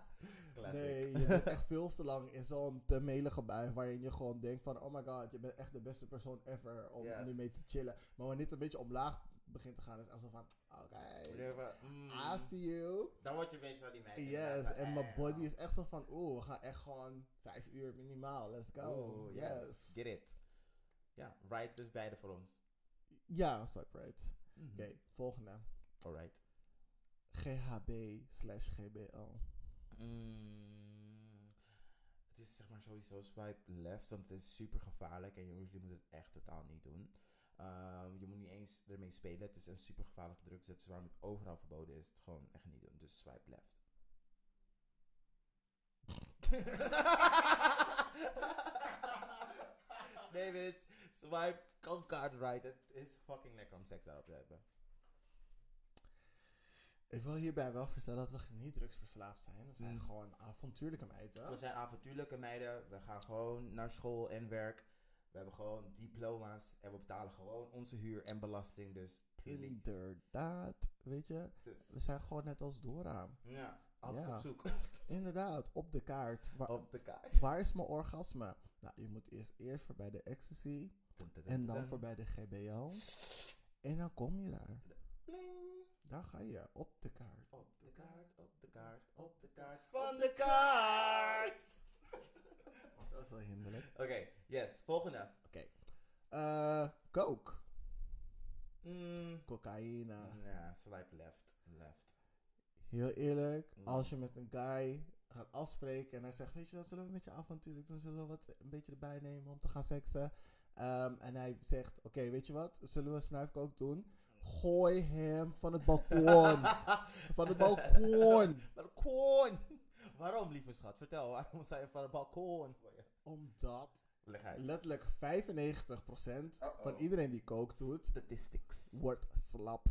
S2: Classic.
S4: Nee, je bent echt veel te lang in zo'n te melige bui. Waarin je gewoon denkt van, oh my god, je bent echt de beste persoon ever om
S2: Yes.
S4: nu mee te chillen. Maar wanneer het een beetje omlaag begint te gaan, is het echt zo van, oké.
S2: Wanneer we- mm,
S4: I see you.
S2: Dan word je een beetje van die meid.
S4: Yes, en mijn body is echt zo van, oeh, we gaan echt gewoon vijf uur minimaal, let's go.
S2: Oh,
S4: yes.
S2: yes. Get it. Ja, right dus beide voor ons.
S4: Ja, swipe right.
S2: Mhm.
S4: Oké, volgende.
S2: Alright.
S4: GHB slash GBL.
S2: Mm, het is zeg maar sowieso swipe left, want het is super gevaarlijk en jongens, jullie moeten het echt totaal niet doen. Ehm, je moet niet eens ermee spelen. Het is een super gevaarlijke druk, dat is waarom het overal verboden is. Het gewoon echt niet doen, dus swipe left. nee, bitch. Swipe, come card right. Het is fucking lekker om seks daarop te hebben.
S4: Ik wil hierbij wel vertellen dat we niet drugsverslaafd zijn. We zijn gewoon avontuurlijke
S2: Mm. We
S4: meiden.
S2: zijn avontuurlijke meiden. We gaan gewoon naar school en werk. We hebben gewoon diploma's. En we betalen gewoon onze huur en belasting. Dus please.
S4: Inderdaad, weet je.
S2: Dus,
S4: We zijn gewoon net als Dora.
S2: ja, altijd
S4: Ja.
S2: op
S4: *laughs*
S2: zoek.
S4: Inderdaad, op de kaart. Waar,
S2: op de kaart.
S4: waar is mijn orgasme? Nou, je moet eerst, eerst voorbij de ecstasy. En dan voorbij de GBL. En dan kom je daar.
S2: Bling.
S4: Daar ga je, op de kaart.
S2: Op de kaart, op de kaart, op de kaart. Van de kaart!
S4: Dat is wel hinderlijk.
S2: Oké, yes. Volgende.
S4: Oké. Eh, coke.
S2: Mm.
S4: Cocaïne.
S2: Ja, swipe left. Left.
S4: Heel eerlijk, als je met een guy gaat afspreken en hij zegt, weet je wat, zullen we met je avontuurlijk doen, zullen we wat een beetje erbij nemen om te gaan seksen. Ehm, en hij zegt, oké, weet je wat, zullen we snuifkook doen? Gooi hem van het balkon. van het balkon.
S2: Balkon! *laughs* Waarom, lieve schat? Vertel, waarom zijn we van het balkon?
S4: Omdat
S2: Leg uit.
S4: letterlijk 95% van iedereen die kook doet,
S2: Statistics. Ah,
S4: wordt slap.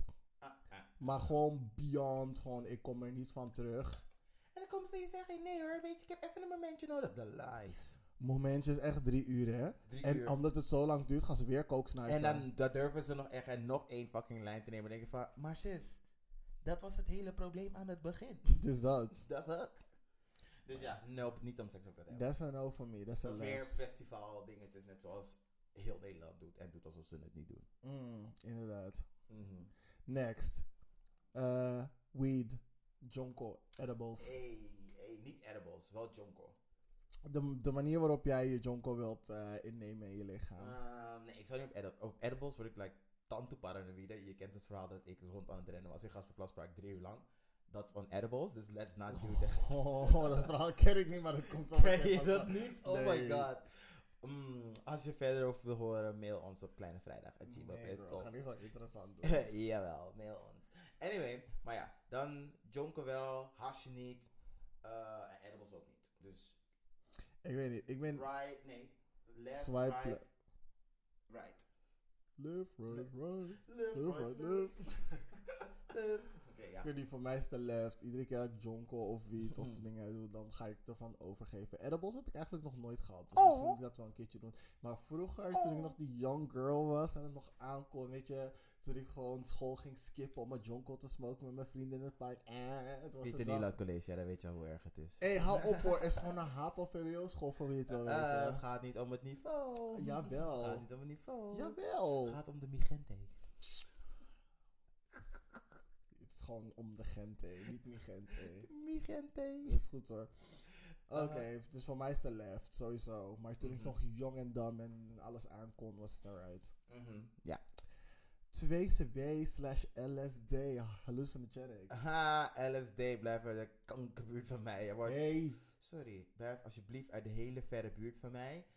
S4: Maar gewoon beyond, gewoon ik kom er niet van terug.
S2: En dan komen ze je zeggen, nee hoor, weet je, ik heb even een momentje nodig. De lies.
S4: Momentje is echt drie uur, hè?
S2: Drie
S4: en
S2: uur.
S4: omdat het zo lang duurt, gaan ze weer kooksnuiven.
S2: En dan dat durven ze nog echt en nog één fucking lijn te nemen. En denken van, maar sis, dat was het hele probleem aan het begin.
S4: Dus dat.
S2: The fuck? Dus ja, nope, niet om seks op te hebben.
S4: That's a no for me. That's a
S2: Dat is meer
S4: left.
S2: festival dingetjes, net zoals heel Nederland doet. En doet alsof ze het niet doen.
S4: Mm, inderdaad.
S2: Mhm.
S4: Next. Eh, weed. Jonko. Edibles.
S2: Hey, hey, niet edibles, wel jonko.
S4: De, de manier waarop jij je jonko wilt eh, innemen in je lichaam.
S2: Ehm, nee, ik zou niet op, edi- op edibles word ik like tantoparanoïde. Je kent het verhaal dat ik rond aan het rennen was in Gasperplaspark drie uur lang. Dat is on edibles, dus let's not do that.
S4: *laughs*
S2: *laughs*
S4: Oh, dat verhaal ken ik niet, maar dat komt zo
S2: Ken
S4: meteen
S2: je
S4: van-
S2: dat niet? Oh
S4: Nee.
S2: my god. Mm, als je verder over wil horen, mail ons op kleinevrijdag.gmail.com.
S4: Nee, bro. Ga niet zo *laughs* interessant doen.
S2: *laughs* Jawel, mail ons. Anyway, maar ja, dan jonken wel, hasje niet, eh, en edibles ook niet. Dus
S4: ik weet niet. Ik ben...
S2: fry, nee, left,
S4: Swipe
S2: right, right.
S4: Left, right,
S2: Left,
S4: right. Left,
S2: right,
S4: right,
S2: left. left. Oké, ja.
S4: Ik weet niet, voor mij is de left. Iedere keer dat ik jonkel of wiet *laughs* of dingen doe, dan ga ik ervan overgeven. Edibles heb ik eigenlijk nog nooit gehad. Dus misschien moet ik dat wel een keertje doen. Maar vroeger, toen ik nog die young girl was en het nog aankon, weet je. Toen ik gewoon school ging skippen om mijn jonkel te smoken met mijn vrienden in het park. Eh, het was
S2: Pieter
S4: het wel-
S2: Nila College, ja, dan weet je al hoe erg het is.
S4: Hé, hey, hou op hoor. Er *laughs* is gewoon een HAVO-VWO school voor wie het wil weten.
S2: Eh, het gaat niet om het niveau.
S4: Jawel.
S2: Het gaat niet om het niveau.
S4: Jawel.
S2: Het gaat om de Migente.
S4: Het is gewoon om de Gente, niet Migente. Dat
S2: Migente.
S4: is goed hoor.
S2: Ah.
S4: Oké, dus voor mij is de left, sowieso. Maar
S2: Mhm.
S4: toen ik nog jong en dam en alles aankon, was het alright.
S2: Mhm. Ja.
S4: 2CB slash LSD, hallucinogenic.
S2: Ah, Haha, LSD, blijf uit de kankerbuurt van mij. Je wordt-
S4: Hey,
S2: Sorry, blijf alsjeblieft uit de hele verre buurt van mij.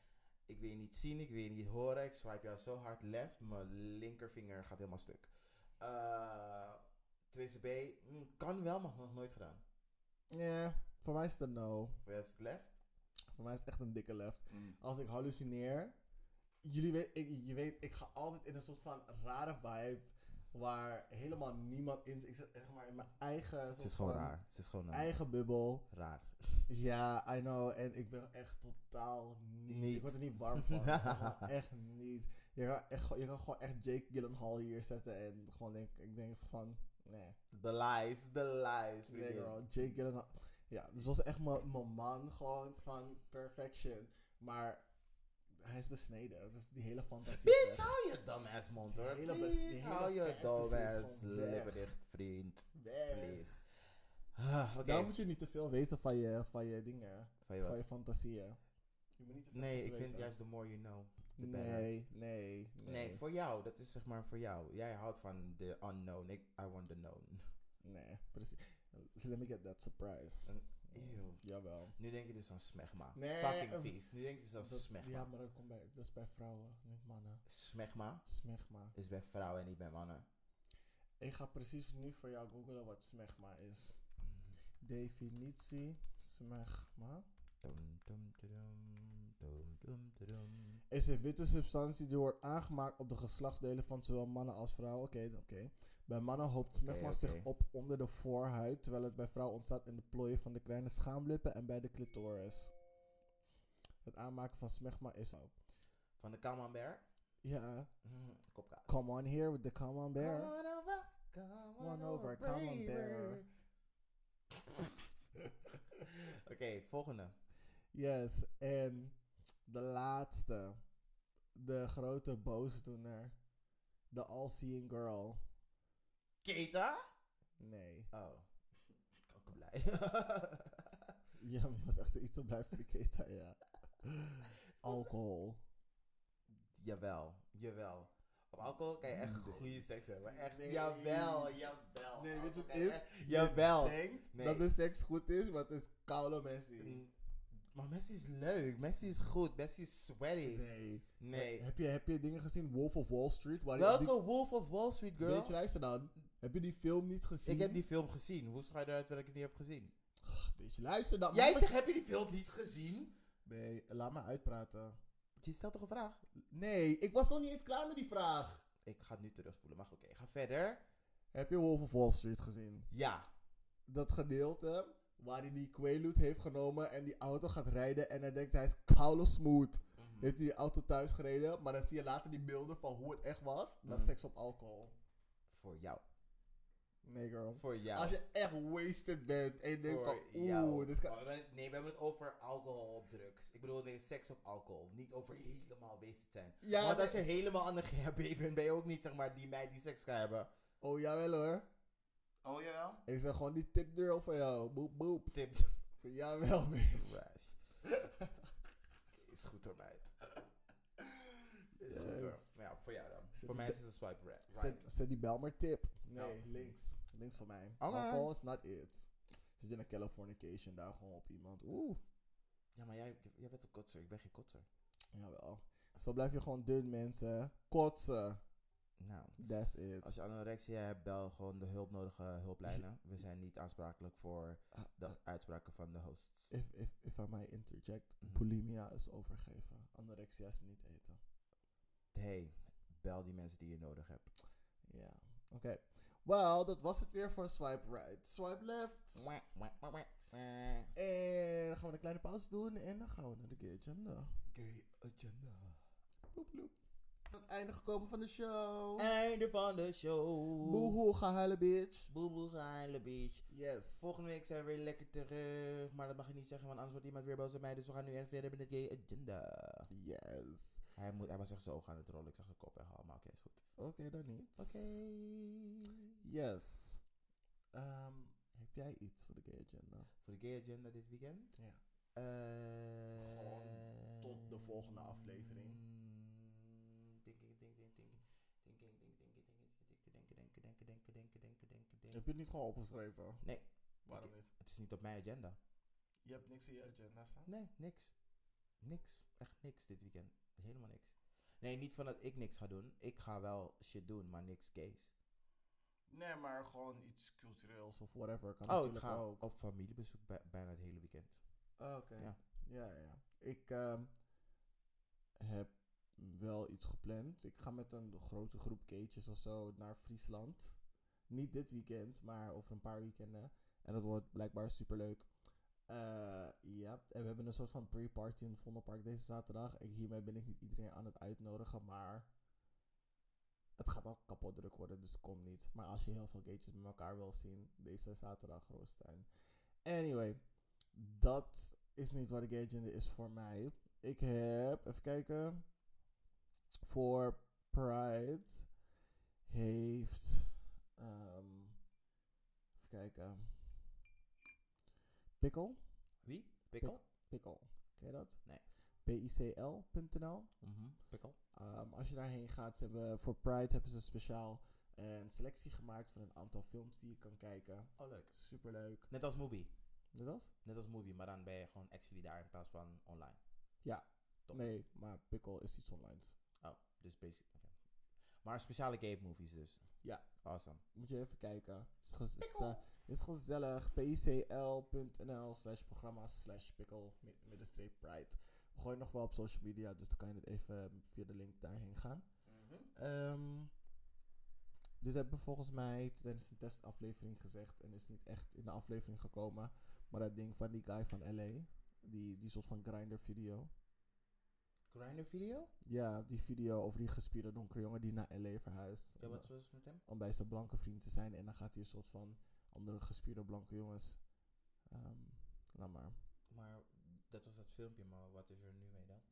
S2: Ik wil je niet zien, ik wil je niet horen. Ik swipe jou zo hard left, mijn linkervinger gaat helemaal stuk. Eh 2CB mm, kan wel, maar nog nooit gedaan.
S4: ja, voor mij is het een no.
S2: West left?
S4: Voor mij is het echt een dikke left.
S2: Mm.
S4: Als ik hallucineer, jullie weet, ik, je weet, ik ga altijd in een soort van rare vibe waar helemaal niemand in zit. Ik zit zeg maar in mijn eigen,
S2: Het
S4: soort
S2: is gewoon
S4: van
S2: raar. Het is gewoon eh,
S4: eigen bubbel.
S2: raar.
S4: Ja, I know. En ik ben echt totaal niet.
S2: Niet.
S4: Ik word er niet warm van. Ik ben gewoon
S2: *laughs*
S4: echt niet. Je kan, echt, je kan gewoon echt Jake Gyllenhaal hier zetten en gewoon denk, ik denk van, nee.
S2: The lies, the lies,
S4: Nee,
S2: vriendin.
S4: girl, Jake Gyllenhaal. Ja, dus was echt mijn mijn man gewoon van perfection. Maar hij is besneden, dus die hele fantasie. is
S2: Bitch,
S4: weg.
S2: hou je dumbass mond hoor.
S4: hele bes- die
S2: Please,
S4: hele
S2: hou je
S4: fantasy is
S2: dumbass
S4: gewoon weg.
S2: lippen dicht, vriend.
S4: Weg.
S2: Please. Ah, Oké,
S4: Daarom moet je niet te veel weten van je, van je dingen,
S2: Van je wat?
S4: van je fantasieën. Je moet niet te veel
S2: Nee, ik
S4: weten.
S2: vind juist the more you know, the better.
S4: Nee, nee, nee.
S2: Nee, voor jou. Dat is zeg maar voor jou. Jij houdt van de unknown. Ik, I want the known.
S4: Nee, precies. Let me get that surprise.
S2: En- Eeuw.
S4: Jawel.
S2: Nu denk je dus aan smegma.
S4: Nee,
S2: Fucking
S4: eh,
S2: vies. Nu denk je dus aan smegma.
S4: ja, maar dat komt bij, dat is bij vrouwen, niet mannen.
S2: Smegma
S4: Smegma.
S2: is bij vrouwen en niet bij mannen.
S4: Ik ga precies nu voor jou googlen wat smegma is.
S2: Mm.
S4: Definitie smegma
S2: Dum, dum, tudum, dum, dum, tudum.
S4: is een witte substantie die wordt aangemaakt op de geslachtsdelen van zowel mannen als vrouwen. Oké, oké. Bij mannen hoopt smegma
S2: oké.
S4: zich op onder de voorhuid, terwijl het bij vrouwen ontstaat in de plooien van de kleine schaamlippen en bij de clitoris. Het aanmaken van smegma is ook.
S2: Van de camembert.
S4: Ja,
S2: Mm, Kopkaas.
S4: come on here with the come on bear.
S2: Come on over. Come
S4: One over, come on
S2: baby.
S4: there.
S2: *laughs* Oké, volgende.
S4: Yes, en de laatste. De grote boosdoener. De all-seeing girl.
S2: Keta?
S4: Nee. *laughs*
S2: Oh. *laughs* Ook blij.
S4: Ja, maar je was echt iets te blij voor de Keta,
S2: *laughs*
S4: ja. Alcohol.
S2: *laughs* Jawel, jawel. Op alcohol kan je echt goede seks hebben. Echt,
S4: Nee.
S2: jawel, jawel.
S4: Nee, weet je
S2: Alcohol
S4: wat het
S2: kan je
S4: is?
S2: echt- Jawel.
S4: Je denkt
S2: Nee.
S4: dat de seks goed is, maar het is koude Messi.
S2: Mm, Maar Messi is leuk. Messi is goed. Messi is sweaty. Nee.
S4: Nee. Heb je, heb je dingen gezien? Wolf of Wall Street? Waar die-
S2: Welke
S4: die,
S2: Wolf of Wall Street girl?
S4: Weet je, nou- luister dan. Heb je die film niet gezien?
S2: ik heb die film gezien. Hoe ga je eruit dat ik het niet heb gezien?
S4: Weet Ah, je, luister dan.
S2: Jij
S4: Moet-
S2: zegt, heb je die film niet gezien?
S4: Nee, laat me uitpraten.
S2: Je stelt toch een vraag?
S4: Nee, ik was nog niet eens klaar met die vraag.
S2: Ik ga het nu terugspoelen. Maar oké, ik ga verder.
S4: Heb je Wolf of Wall Street gezien?
S2: Ja.
S4: Dat gedeelte waar hij die Quaalude heeft genomen en die auto gaat rijden en hij denkt hij is koude smooth. Heeft hij die auto thuis gereden, maar dan zie je later die beelden van hoe het echt was. Dat is seks op alcohol.
S2: Voor jou.
S4: Nee, girl.
S2: Voor jou.
S4: Als je echt wasted bent en je denkt van
S2: voor jou.
S4: oeh, dit kan...
S2: Maar we hebben het- nee, we hebben het over alcohol op drugs. Ik bedoel, nee, seks op alcohol. Niet over helemaal wasted zijn.
S4: Ja,
S2: Want als je
S4: nee.
S2: helemaal aan de *laughs* GHB bent, ben je ook niet, zeg maar, die meid die seks gaat hebben.
S4: Oh, jawel hoor.
S2: Oh, jawel?
S4: Ik zeg gewoon die tip girl voor jou. Boep, boep.
S2: Tip
S4: Jawel, *laughs* bitch.
S2: trash. *laughs* is goed hoor, meid. Is goed
S4: Yes.
S2: hoor. Maar ja, voor jou dan. voor mij is het een swipe ra- right.
S4: Zet, zet die bel maar tip. Nee,
S2: Ja.
S4: links. Links van mij.
S2: Nou. Alright.
S4: Alcohol is not it. Zit je naar Californication daar gewoon op iemand. Oeh,
S2: Ja, maar jij, jij bent een kotser. Ik ben geen kotser.
S4: jawel. Zo blijf je gewoon dun, mensen. Kotsen.
S2: Nou,
S4: That's it.
S2: als je anorexia hebt, bel gewoon de hulpnodige hulplijnen. We zijn niet aansprakelijk voor
S4: Ah,
S2: de uitspraken van de hosts.
S4: If, if, if I may interject,
S2: Mhm.
S4: bulimia is overgeven. Anorexia is niet eten.
S2: Hey, bel die mensen die je nodig hebt.
S4: Ja, oké. Wel, dat was het weer voor Swipe Right, Swipe Left. En dan gaan we een kleine pauze doen en dan gaan we naar de gay agenda.
S2: Gay agenda.
S4: Bloep, bloep. Aan het einde gekomen van de show.
S2: Einde van de show.
S4: Boehoe, ga huilen, bitch.
S2: Boehoe Island Beach.
S4: Yes.
S2: Volgende week zijn we weer lekker terug. Maar dat mag je niet zeggen, want anders wordt iemand weer boos op mij. Dus we gaan nu echt verder met de gay agenda.
S4: Yes.
S2: Hij, moet, hij was echt zo gaan het rollen. Ik zag zijn kop echt al, maar oké, is goed.
S4: Oké, dan niet.
S2: Oké.
S4: Yes. Ehm, heb jij iets voor de gay agenda?
S2: Voor de gay agenda dit weekend?
S4: Ja.
S2: Eh,
S1: Gewoon tot de volgende aflevering.
S2: Mm, Denken, denken, denken, denken, denken, denken, denken, denken, denken, denken, denken, denken, denken, denken.
S4: Heb je het niet gewoon opgeschreven?
S2: Nee.
S4: Waarom niet?
S2: Het is niet op mijn agenda.
S4: Je hebt niks in je agenda staan?
S2: Nee, niks. Niks. Echt niks dit weekend. Helemaal niks. Nee, niet van dat ik niks ga doen. Ik ga wel shit doen, maar niks gays.
S4: Nee, maar gewoon iets cultureels of whatever. Kan
S2: oh, ik
S4: natuurlijk
S2: ga
S4: ook.
S2: op familiebezoek bij- bijna het hele weekend.
S4: Ah, Oké.
S2: Ja.
S4: Ja, ja, ja. Ik ehm, heb wel iets gepland. Ik ga met een grote groep keetjes of zo naar Friesland. Niet dit weekend, maar over een paar weekenden. En dat wordt blijkbaar superleuk. Eh, ja, en we hebben een soort van pre-party in het Vondelpark deze zaterdag. Ik, hiermee ben ik niet iedereen aan het uitnodigen, maar het gaat al kapot druk worden, dus kom niet. Maar als je heel veel gatejes met elkaar wil zien, deze zaterdag, Roostijn. Anyway, dat is niet wat de gay agenda is voor mij. Ik heb, even kijken. Voor Pride heeft. ehm, even kijken. Pickle.
S2: Wie? Pikkel?
S4: Pickle. Ken je dat?
S2: Nee.
S4: PICL.nl.
S2: Mhm. Pikkel.
S4: Ehm, als je daarheen gaat, ze hebben, voor Pride hebben ze speciaal eh, een selectie gemaakt van een aantal films die je kan kijken.
S2: Oh, leuk.
S4: Superleuk.
S2: Net als Mubi.
S4: Net als?
S2: Net als Mubi, maar dan ben je gewoon actually daar in plaats van online.
S4: Ja.
S2: Top.
S4: Nee, maar Pickle is iets online.
S2: Oh, dus basic. oké. Maar speciale game movies dus.
S4: Ja.
S2: Awesome.
S4: Moet je even kijken. Is, gez- is, eh, is gezellig. picl.nl slash programma's slash pickle mi- middenstreep pride. We gooien nog wel op social media, dus dan kan je het even via de link daarheen gaan. Ehm, dit hebben we volgens mij tijdens de testaflevering gezegd en is niet echt in de aflevering gekomen. Maar dat ding van die guy van LA, die, die soort van grinder video.
S2: Grinder video?
S4: Ja, die video over die gespierde donkere jongen die naar LA verhuist.
S2: Ja, wat was het met hem?
S4: om bij zijn blanke vriend te zijn. En dan gaat hij een soort van andere gespierde blanke jongens. ehm laat maar.
S2: Maar dat was dat filmpje, maar wat is er nu mee dan?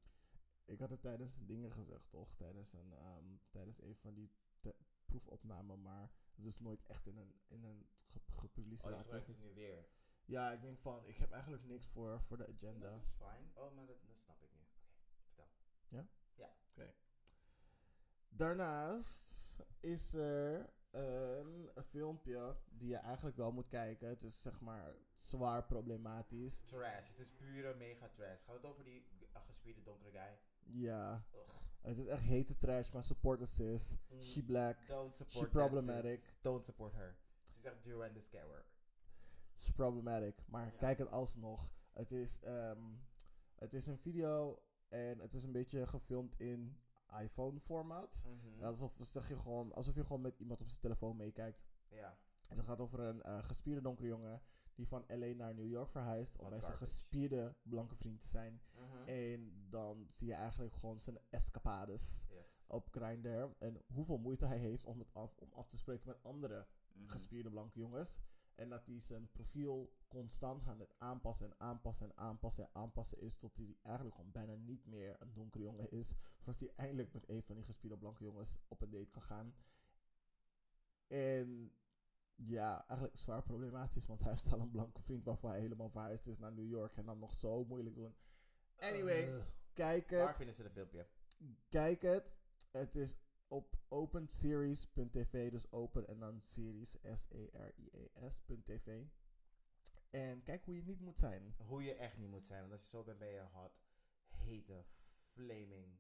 S4: Ik had het tijdens dingen gezegd, toch? Tijdens een, ehm, tijdens een van die te- proefopnamen. Maar het is nooit echt in een, in een ge-
S2: Oh,
S4: gepubliceerd.
S2: je gebruikt het nu weer.
S4: ja, ik denk van, ik heb eigenlijk niks voor, voor de agenda.
S2: Dat is fijn. Oh, maar dat, dat snap ik nu. Oké, vertel.
S4: Daarnaast is er een, een filmpje die je eigenlijk wel moet kijken. Het is zeg maar zwaar problematisch.
S2: Trash. Het is pure mega trash. Gaat het over die eh, gespierde donkere guy?
S4: Ja.
S2: Ugh.
S4: Het is echt hete trash, maar support assist.
S2: Mm.
S4: She black.
S2: Don't support that,
S4: She problematic.
S2: sis. Don't support her. Ze is echt Joanne the Scarer.
S4: is problematic. Maar
S2: Ja.
S4: kijk het alsnog. Het is, ehm, het is een video en het is een beetje gefilmd in iPhone-formaat.
S2: Mm.
S4: Alsof, zeg je gewoon, alsof je gewoon met iemand op zijn telefoon meekijkt.
S2: Ja.
S4: En het gaat over een eh, gespierde donkere jongen die van LA naar New York verhuist om
S2: Wat
S4: bij zijn
S2: garbage.
S4: gespierde blanke vriend te zijn.
S2: Mhm.
S4: En dan zie je eigenlijk gewoon zijn escapades
S2: Yes.
S4: op Grindr en hoeveel moeite hij heeft om, het af, om af te spreken met andere
S2: Mhm.
S4: gespierde blanke jongens. En dat hij zijn profiel constant aan het aanpassen en aanpassen en aanpassen en aanpassen is. Tot hij eigenlijk gewoon bijna niet meer een donkere jongen is. Voordat hij eindelijk met een van die gespierde blanke jongens op een date kan gaan. En ja, eigenlijk zwaar problematisch. Want hij heeft al een blanke vriend waarvoor hij helemaal verhuisd is naar New York. En dan nog zo moeilijk doen. Anyway,
S2: Ugh.
S4: kijk
S2: Eh, Waar
S4: het.
S2: vinden ze de dus filmpje?
S4: Kijk het. Het is op openseries.tv, dus open en dan series, E S-E-R-I-E-S.tv. En kijk hoe je niet moet zijn.
S2: Hoe je echt niet moet zijn. Want als je zo bent, ben je hot, hete, flaming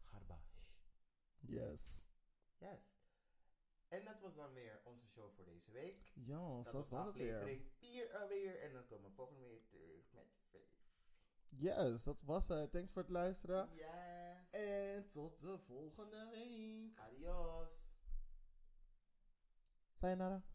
S2: garbage.
S4: Yes.
S2: Yes. En dat was dan weer onze show voor deze week.
S4: Ja, dat, was het weer.
S2: aflevering 4 alweer. En dan komen we volgende week terug met 5.
S4: Yes, dat was het. Thanks voor het luisteren.
S2: Yes.
S4: En tot de volgende week.
S2: Adios.
S4: Sayonara.